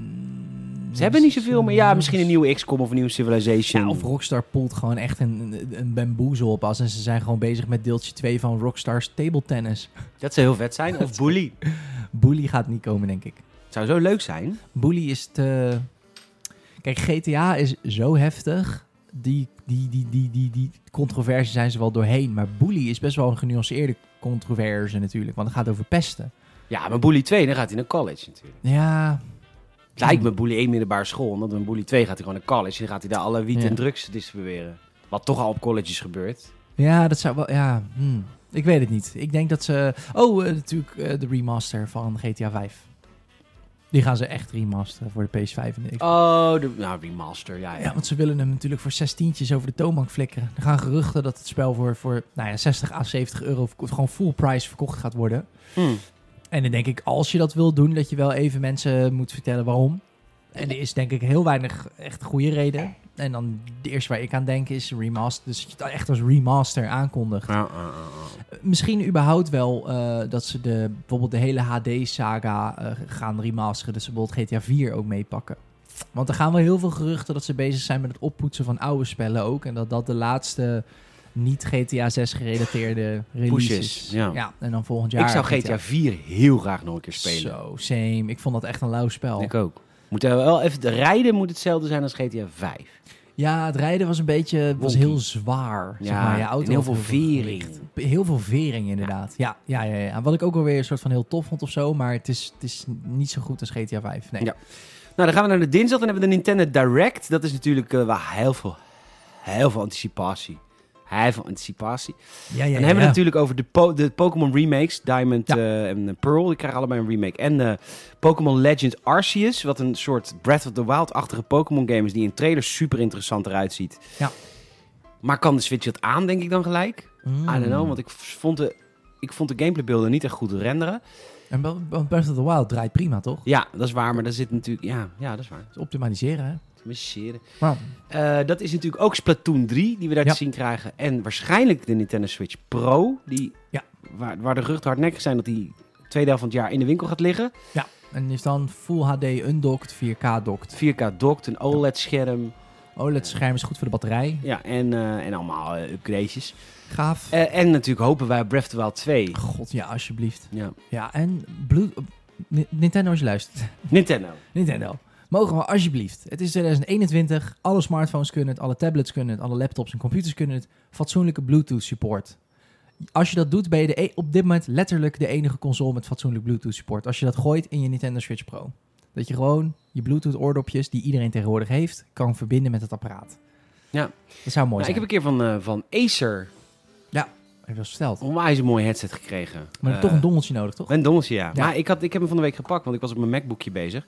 Speaker 1: ze hebben niet zoveel, maar ja, misschien een nieuwe XCOM of een nieuwe Civilization.
Speaker 2: Ja, of Rockstar poelt gewoon echt een, een- een bamboezel op als en ze zijn gewoon bezig met deeltje 2 van Rockstar's table tennis.
Speaker 1: Dat zou heel vet zijn.
Speaker 2: *laughs*
Speaker 1: Of Bully.
Speaker 2: Bully gaat niet komen, denk ik.
Speaker 1: Het zou zo leuk zijn.
Speaker 2: Bully is te... Kijk, GTA is zo heftig. Die, die, die, die, die, die controverse zijn ze wel doorheen. Maar Bully is best wel een genuanceerde controverse natuurlijk. Want het gaat over pesten.
Speaker 1: Ja, maar Bully 2, dan gaat hij naar college natuurlijk.
Speaker 2: Ja,
Speaker 1: Het lijkt me Bully 1 middelbare school. En dan in Bully 2 gaat hij gewoon naar college. En dan gaat hij daar alle wiet
Speaker 2: Ja.
Speaker 1: en drugs distribueren. Wat toch al op colleges gebeurt.
Speaker 2: ja dat zou wel... Ja, hmm. ik weet het niet. Ik denk dat ze... Oh, eh, natuurlijk eh, de remaster van GTA 5. Die gaan ze echt remasteren voor de PS5 en de Xbox.
Speaker 1: Oh, de, nou, remaster. Ja, ja.
Speaker 2: Ja, want ze willen hem natuurlijk voor 16 over de toonbank flikkeren. Er gaan geruchten dat het spel voor, voor nou ja, 60 à 70 euro verko- gewoon full price verkocht gaat worden.
Speaker 1: Hm.
Speaker 2: En dan denk ik, als je dat wil doen, dat je wel even mensen moet vertellen waarom. En er is denk ik heel weinig echt goede reden. En dan de eerste waar ik aan denk is remaster. Dus dat je het echt als remaster aankondigt.
Speaker 1: Ja, ja, ja, ja.
Speaker 2: Misschien überhaupt wel eh, dat ze de, bijvoorbeeld de hele HD-saga eh, gaan remasteren. Dus ze bijvoorbeeld GTA 4 ook meepakken. Want er gaan wel heel veel geruchten dat ze bezig zijn met het oppoetsen van oude spellen ook. En dat dat de laatste niet-GTA 6 gerelateerde release
Speaker 1: Push
Speaker 2: is.
Speaker 1: is, ja.
Speaker 2: en dan volgend jaar
Speaker 1: ik zou GTA 4 heel graag nog een keer spelen.
Speaker 2: Zo, same. Ik vond dat echt een lauw spel.
Speaker 1: Ik ook. Moet er wel even, de rijden moet hetzelfde zijn als GTA 5.
Speaker 2: Ja, het rijden was een beetje was
Speaker 1: Wonky.
Speaker 2: heel zwaar. zeg
Speaker 1: Ja,
Speaker 2: maar. Je
Speaker 1: en
Speaker 2: auto
Speaker 1: heel veel
Speaker 2: had
Speaker 1: vering.
Speaker 2: gewicht. Heel veel vering, inderdaad. Ja. Ja, ja, ja, Wat ik ook alweer een soort van heel tof vond of zo. Maar het is, het is niet zo goed als GTA 5. Nee.
Speaker 1: Ja. Nou, dan gaan we naar de dinsdag. Dan hebben we de Nintendo Direct. Dat is natuurlijk eh, waar heel veel, heel veel anticipatie. Heel veel anticipatie.
Speaker 2: ja, ja,
Speaker 1: dan hebben we het natuurlijk over de, po- de Pokémon remakes. Diamond eh, en eh, Pearl. Die krijgen allebei een remake. En eh, Pokémon Legends Arceus. Wat een soort Breath of the Wild-achtige Pokémon game is. Die in trailers super interessant eruit ziet.
Speaker 2: Ja.
Speaker 1: Maar kan de Switch dat aan, denk ik dan gelijk?
Speaker 2: Mm.
Speaker 1: I don't know, want ik vond de, ik vond de gameplaybeelden niet echt goed renderen.
Speaker 2: En Be- Be- Breath of the Wild draait prima, toch?
Speaker 1: Ja, dat is waar, maar daar zit natuurlijk... Ja, ja dat is waar.
Speaker 2: Dus optimaliseren, hè?
Speaker 1: Miseren.
Speaker 2: Maar
Speaker 1: Eh, dat is natuurlijk ook Splatoon 3, die we daar
Speaker 2: Ja.
Speaker 1: te zien krijgen. En waarschijnlijk de Nintendo Switch Pro, die,
Speaker 2: Ja.
Speaker 1: waar, waar de geruchten hardnekkig zijn dat die tweede helft van het jaar in de winkel gaat liggen.
Speaker 2: En is dan Full HD undocked, 4K docked.
Speaker 1: 4K docked, een OLED-scherm
Speaker 2: OLED-scherm is goed voor de batterij.
Speaker 1: ja, en, eh, en allemaal eh, upgradejes.
Speaker 2: Gaaf.
Speaker 1: Eh, en natuurlijk hopen wij op Breath of the Wild 2.
Speaker 2: God, ja, alsjeblieft.
Speaker 1: Ja.
Speaker 2: Ja, en Blue... Ni- Nintendo, als je luistert.
Speaker 1: Nintendo.
Speaker 2: Nintendo, mogen we alsjeblieft. Het is 2021. Alle smartphones kunnen het, alle tablets kunnen het, alle laptops en computers kunnen het. Fatsoenlijke Bluetooth support. Als je dat doet, ben je de e- op dit moment letterlijk de enige console met fatsoenlijk Bluetooth support. Als je dat gooit in je Nintendo Switch Pro. Dat je gewoon je Bluetooth oordopjes, die iedereen tegenwoordig heeft, kan verbinden met het apparaat.
Speaker 1: Ja.
Speaker 2: Dat zou mooi
Speaker 1: Nou, ik heb
Speaker 2: zijn.
Speaker 1: een keer van, eh, van Acer
Speaker 2: heb ik wel eens verteld. Maar
Speaker 1: onwijs een mooi headset gekregen.
Speaker 2: dan heb je
Speaker 1: Eh,
Speaker 2: toch een dongeltje nodig, toch?
Speaker 1: Een dongeltje, ja.
Speaker 2: Ja.
Speaker 1: Maar ik, had, ik heb hem van de week gepakt, want ik was op mijn MacBookje bezig.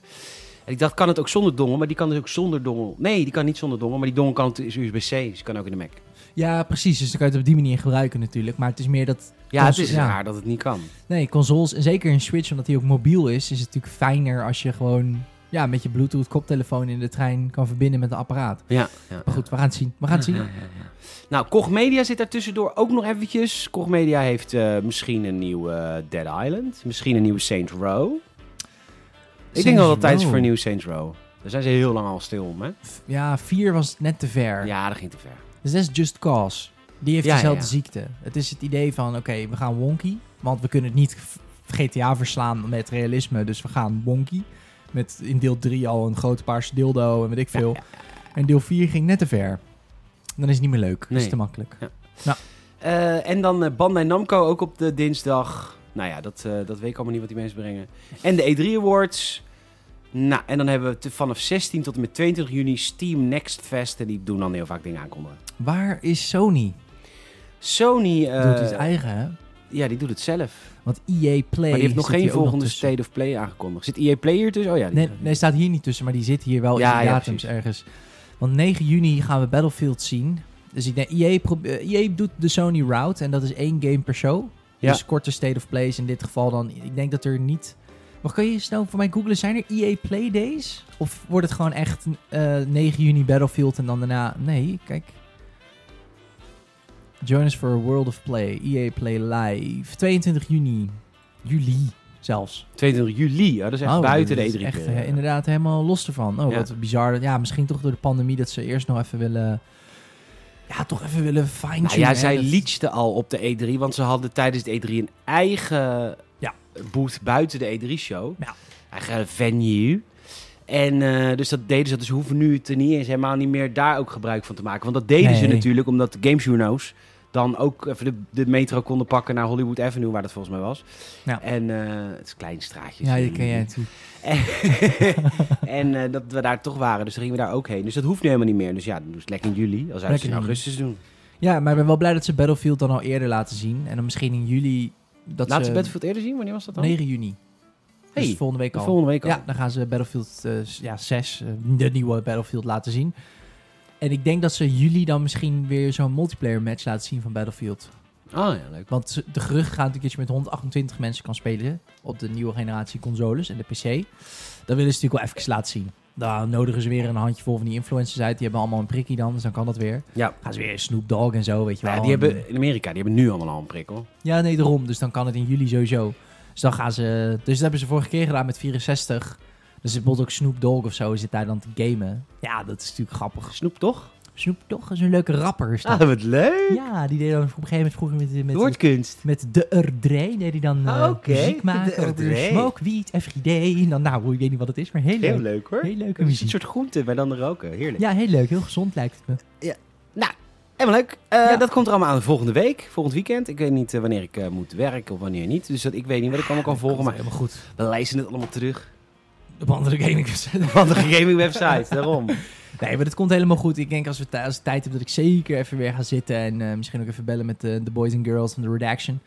Speaker 1: En ik dacht, kan het ook zonder dongel? Maar die kan dus ook zonder dongel. Nee, die kan niet zonder dongel, maar die dongel kan, is USB-C, dus die kan ook in de Mac.
Speaker 2: Ja, precies. Dus dan kan je het op die manier gebruiken natuurlijk. Maar het is meer dat
Speaker 1: Ja, Dus het
Speaker 2: Console-
Speaker 1: is
Speaker 2: ja.
Speaker 1: raar dat het niet kan.
Speaker 2: Nee, consoles, en zeker een Switch, omdat die ook mobiel is, is het natuurlijk fijner als je gewoon ja, met je Bluetooth koptelefoon in de trein kan verbinden met een apparaat.
Speaker 1: Ja, ja.
Speaker 2: Maar goed, we gaan het zien. We gaan het zien.
Speaker 1: Mhm. Nou, Koch Media zit daar tussendoor ook nog eventjes. Koch Media heeft eh, misschien een nieuwe eh, Dead Island. Misschien een nieuwe Saints Row. ik denk wel dat het tijd is voor een nieuwe Saints Row. Daar zijn ze heel lang al stil om, hè?
Speaker 2: Ja, 4 was net te ver.
Speaker 1: Ja, dat ging te ver.
Speaker 2: Dus dat is Just Cause. Die heeft
Speaker 1: Ja,
Speaker 2: dezelfde
Speaker 1: ja, ja.
Speaker 2: ziekte. Het is het idee van, oké, we gaan wonky, want we kunnen het niet v- GTA verslaan met realisme, dus we gaan wonky. Met in deel 3 al een grote paarse dildo en weet ik veel. En deel 4 ging net te ver. Dan is het niet meer leuk. Dat is
Speaker 1: Nee.
Speaker 2: te makkelijk.
Speaker 1: Eh, en dan eh, Bandai Namco ook op de dinsdag. Nou ja, dat, eh, dat weet ik allemaal niet wat die mensen brengen. En de E3 Awards. Nou, en dan hebben we te- vanaf 16 tot en met 22 juni Steam Next Fest. En die doen dan heel vaak dingen aankondigen.
Speaker 2: Waar is Sony?
Speaker 1: Sony... eh,
Speaker 2: doet iets eigen, hè?
Speaker 1: ja, die doet het zelf.
Speaker 2: Want EA Play...
Speaker 1: maar die heeft nog
Speaker 2: zit
Speaker 1: geen
Speaker 2: hier ook nog
Speaker 1: volgende
Speaker 2: tussen.
Speaker 1: State of Play aangekondigd. Zit EA Play hier tussen? Oh ja. Die
Speaker 2: Nee, nee, staat hier niet tussen, maar die zit hier wel
Speaker 1: Ja,
Speaker 2: in de
Speaker 1: ja,
Speaker 2: datums
Speaker 1: precies.
Speaker 2: ergens. Want 9 juni gaan we Battlefield zien. Dus ik denk, EA, pro- eh, EA doet de Sony route en dat is één game per show.
Speaker 1: Ja.
Speaker 2: Dus korte State of Plays in dit geval dan. Ik denk dat er niet... Maar kan je snel voor mij googlen, zijn er EA Play Days? Of wordt het gewoon echt eh, 9 juni Battlefield en dan daarna... Nee, kijk. E Join us for a world of play. EA Play Live. 22 juni. Juli. zelfs.
Speaker 1: 22 juli, ja, dat is echt
Speaker 2: Oh,
Speaker 1: buiten de
Speaker 2: dat is
Speaker 1: E3.
Speaker 2: Echt
Speaker 1: periode.
Speaker 2: eh, inderdaad helemaal los ervan. Oh,
Speaker 1: Ja.
Speaker 2: wat bizar. Ja, misschien toch door de pandemie dat ze eerst nog even willen... Ja, toch even willen fine-tunen.
Speaker 1: Nou ja,
Speaker 2: hè,
Speaker 1: zij
Speaker 2: dat-
Speaker 1: leachte al op de E3, want ze hadden tijdens de E3 een eigen
Speaker 2: Ja.
Speaker 1: booth buiten de E3-show.
Speaker 2: Ja.
Speaker 1: Eigen venue. En eh, dus dat deden ze, dus ze hoeven nu het er niet eens helemaal niet meer daar ook gebruik van te maken. Want dat deden ze
Speaker 2: Nee.
Speaker 1: natuurlijk omdat de gamejourno's dan ook even de, de metro konden pakken naar Hollywood Avenue, waar dat volgens mij was.
Speaker 2: Ja.
Speaker 1: En eh, het is een klein straatje.
Speaker 2: Ja, die ken jij natuurlijk.
Speaker 1: En, *laughs* en eh, dat we daar toch waren, dus dan gingen we daar ook heen. Dus dat hoeft nu helemaal niet meer. Dus ja, dat is lekker in juli, als ze het
Speaker 2: Lekker
Speaker 1: in
Speaker 2: in
Speaker 1: augustus doen.
Speaker 2: Ja, maar ik ben wel blij dat ze Battlefield dan al eerder laten zien. En dan misschien in juli... Dat
Speaker 1: Laat ze
Speaker 2: ze
Speaker 1: Battlefield eerder zien? Wanneer was dat dan?
Speaker 2: 9 juni.
Speaker 1: Hey,
Speaker 2: dus volgende week
Speaker 1: de
Speaker 2: al.
Speaker 1: volgende week al.
Speaker 2: Ja, dan gaan ze Battlefield eh, s- ja, 6, eh, de nieuwe Battlefield, laten zien. En ik denk dat ze juli dan misschien weer zo'n multiplayer match laten zien van Battlefield.
Speaker 1: Ah ja, leuk.
Speaker 2: Want ze- de gerucht gaat natuurlijk dat je met 128 mensen kan spelen op de nieuwe generatie consoles en de PC. Dat willen ze natuurlijk wel even laten zien. Dan nodigen ze weer een handjevol van die influencers uit. Die hebben allemaal een prikkie dan, dus dan kan dat weer.
Speaker 1: Ja.
Speaker 2: Gaan ze weer Snoop Dogg en zo, weet je
Speaker 1: Nou ja,
Speaker 2: wel.
Speaker 1: die hebben, in Amerika, die hebben nu allemaal al een prikkel.
Speaker 2: Ja, nee, daarom. Dus dan kan het in juli sowieso. Dus dan gaan ze... Dus dat hebben ze vorige keer gedaan met 64. Dus bijvoorbeeld ook Snoop Dogg of zo zit daar dan te gamen. Ja, dat is natuurlijk grappig.
Speaker 1: Snoep toch? Ah,
Speaker 2: Snoop Dogg is een leuke rapper. Is dat.
Speaker 1: wat leuk.
Speaker 2: Ja, die deed dan op een gegeven moment vroeger met... met
Speaker 1: Woordkunst.
Speaker 2: met de Erdrey deed hij dan eh,
Speaker 1: Ah, oké.
Speaker 2: muziek
Speaker 1: De
Speaker 2: maken over
Speaker 1: Erdrey.
Speaker 2: smoke, weed, FGD. En dan, nou, ik weet niet wat het is, maar heel,
Speaker 1: Heel
Speaker 2: leuk.
Speaker 1: leuk hoor.
Speaker 2: Heel leuke
Speaker 1: Het is een
Speaker 2: muziek.
Speaker 1: soort groente, maar dan roken. Heerlijk.
Speaker 2: Ja, heel leuk. Heel gezond lijkt het me.
Speaker 1: Nou, helemaal leuk. Eh,
Speaker 2: Ja.
Speaker 1: Dat komt er allemaal aan volgende week, volgend weekend. Ik weet niet eh, wanneer ik eh, moet werken of wanneer niet. Dus dat, ik weet niet wat ik allemaal kan volgen.
Speaker 2: Komt
Speaker 1: Maar
Speaker 2: helemaal goed.
Speaker 1: we lijsten het allemaal terug *laughs*
Speaker 2: Op andere gaming
Speaker 1: van de gaming website. Daarom.
Speaker 2: Nee, maar dat komt helemaal goed. Ik denk als we, tij- als we tijd hebben dat ik zeker even weer ga zitten. En eh, misschien ook even bellen met de, de boys and girls van de redaction.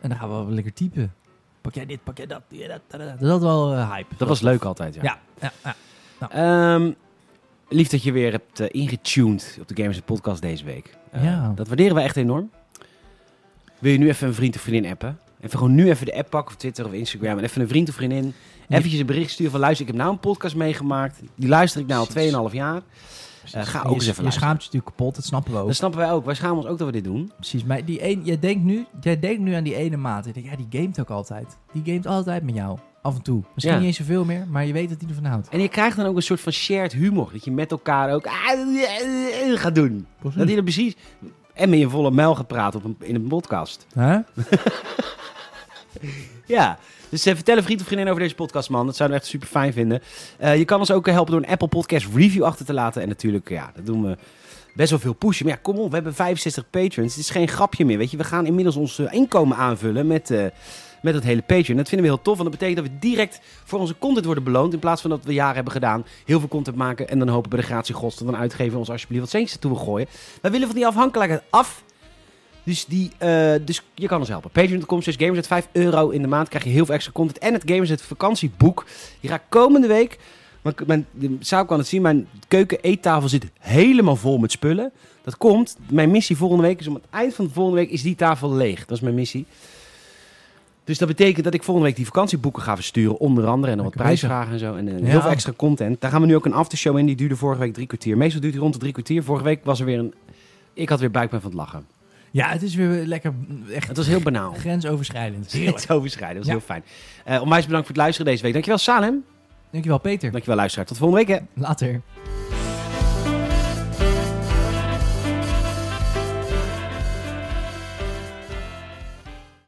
Speaker 2: En dan gaan we wel lekker typen. Pak jij dit, pak jij dat. Ja, dat, dat, dat. Dus dat is wel eh, hype.
Speaker 1: Dat was Eh, leuk altijd, ja.
Speaker 2: Ja, ja, ja.
Speaker 1: Ehm, lief dat je weer hebt eh, ingetuned op de Gamers en Podcast deze week. Eh,
Speaker 2: Ja.
Speaker 1: Dat waarderen we echt enorm. Wil je nu even een vriend of vriendin appen? Even gewoon nu even de app pakken of Twitter of Instagram. En even een vriend of vriendin.
Speaker 2: Ja.
Speaker 1: Eventjes een bericht sturen van luister, ik heb nou een podcast meegemaakt. Die luister ik nou
Speaker 2: Precies.
Speaker 1: al 2,5 jaar. Eh, ga ook eens even
Speaker 2: je, Je
Speaker 1: luisteren.
Speaker 2: schaamt je natuurlijk kapot, dat snappen we ook.
Speaker 1: Dat snappen wij ook. Wij schamen ons ook dat we dit doen.
Speaker 2: Precies, maar die een, jij, denkt nu, jij denkt nu aan die ene maat. Je denkt, ja, die gamet ook altijd. Die gamet altijd met jou. Af en toe. Misschien
Speaker 1: Ja.
Speaker 2: niet eens zoveel meer, maar je weet dat hij ervan houdt.
Speaker 1: En je krijgt dan ook een soort van shared humor. Dat je met elkaar ook ah, eh, eh, gaat doen.
Speaker 2: Hm.
Speaker 1: Dat je er precies... En met je volle muil gaat praten op een, in een podcast.
Speaker 2: Huh?
Speaker 1: Ja, dus eh, vertel een vriend of vriendin over deze podcast, man. Dat zouden we echt super fijn vinden. Eh, je kan ons ook eh, helpen door een Apple Podcast review achter te laten. En natuurlijk, ja, dat doen we best wel veel pushen. Maar ja, kom op, we hebben 65 patrons. Het is geen grapje meer, weet je. We gaan inmiddels ons eh, inkomen aanvullen met, eh, met dat hele Patreon. Dat vinden we heel tof, want dat betekent dat we direct voor onze content worden beloond. In plaats van dat we jaren hebben gedaan, heel veel content maken... en dan hopen we de gratie gods dat dan uitgeven ons alsjeblieft wat centjes toe gooien. Wij willen van die afhankelijkheid af... Dus, die, eh, dus je kan ons helpen. Patreon.com slash Gamersnet. 5 euro in de maand krijg je heel veel extra content. En het Gamersnet vakantieboek. Je gaat komende week... Mijn, mijn, de zaal kan het zien. Mijn keuken-eettafel zit helemaal vol met spullen. Dat komt. Mijn missie volgende week is... Om het eind van de volgende week is die tafel leeg. Dat is mijn missie. Dus dat betekent dat ik volgende week die vakantieboeken ga versturen. Onder andere. En dan wat
Speaker 2: Lekker bezig.
Speaker 1: prijsvragen en zo. En eh,
Speaker 2: Ja.
Speaker 1: heel veel extra content. Daar gaan we nu ook een aftershow in. Die duurde vorige week drie kwartier. Meestal duurt die rond de drie kwartier. Vorige week was er weer een... Ik had weer buikpijn van het lachen.
Speaker 2: Ja, het is weer lekker echt
Speaker 1: Het was heel banaal. *laughs*
Speaker 2: grensoverschrijdend.
Speaker 1: Het overschrijden, dat is
Speaker 2: Ja.
Speaker 1: heel fijn. Eh onwijs bedankt voor het luisteren deze week. Dankjewel Salem.
Speaker 2: Dankjewel, Peter.
Speaker 1: Dankjewel luisteraar. Tot volgende week hè.
Speaker 2: Later.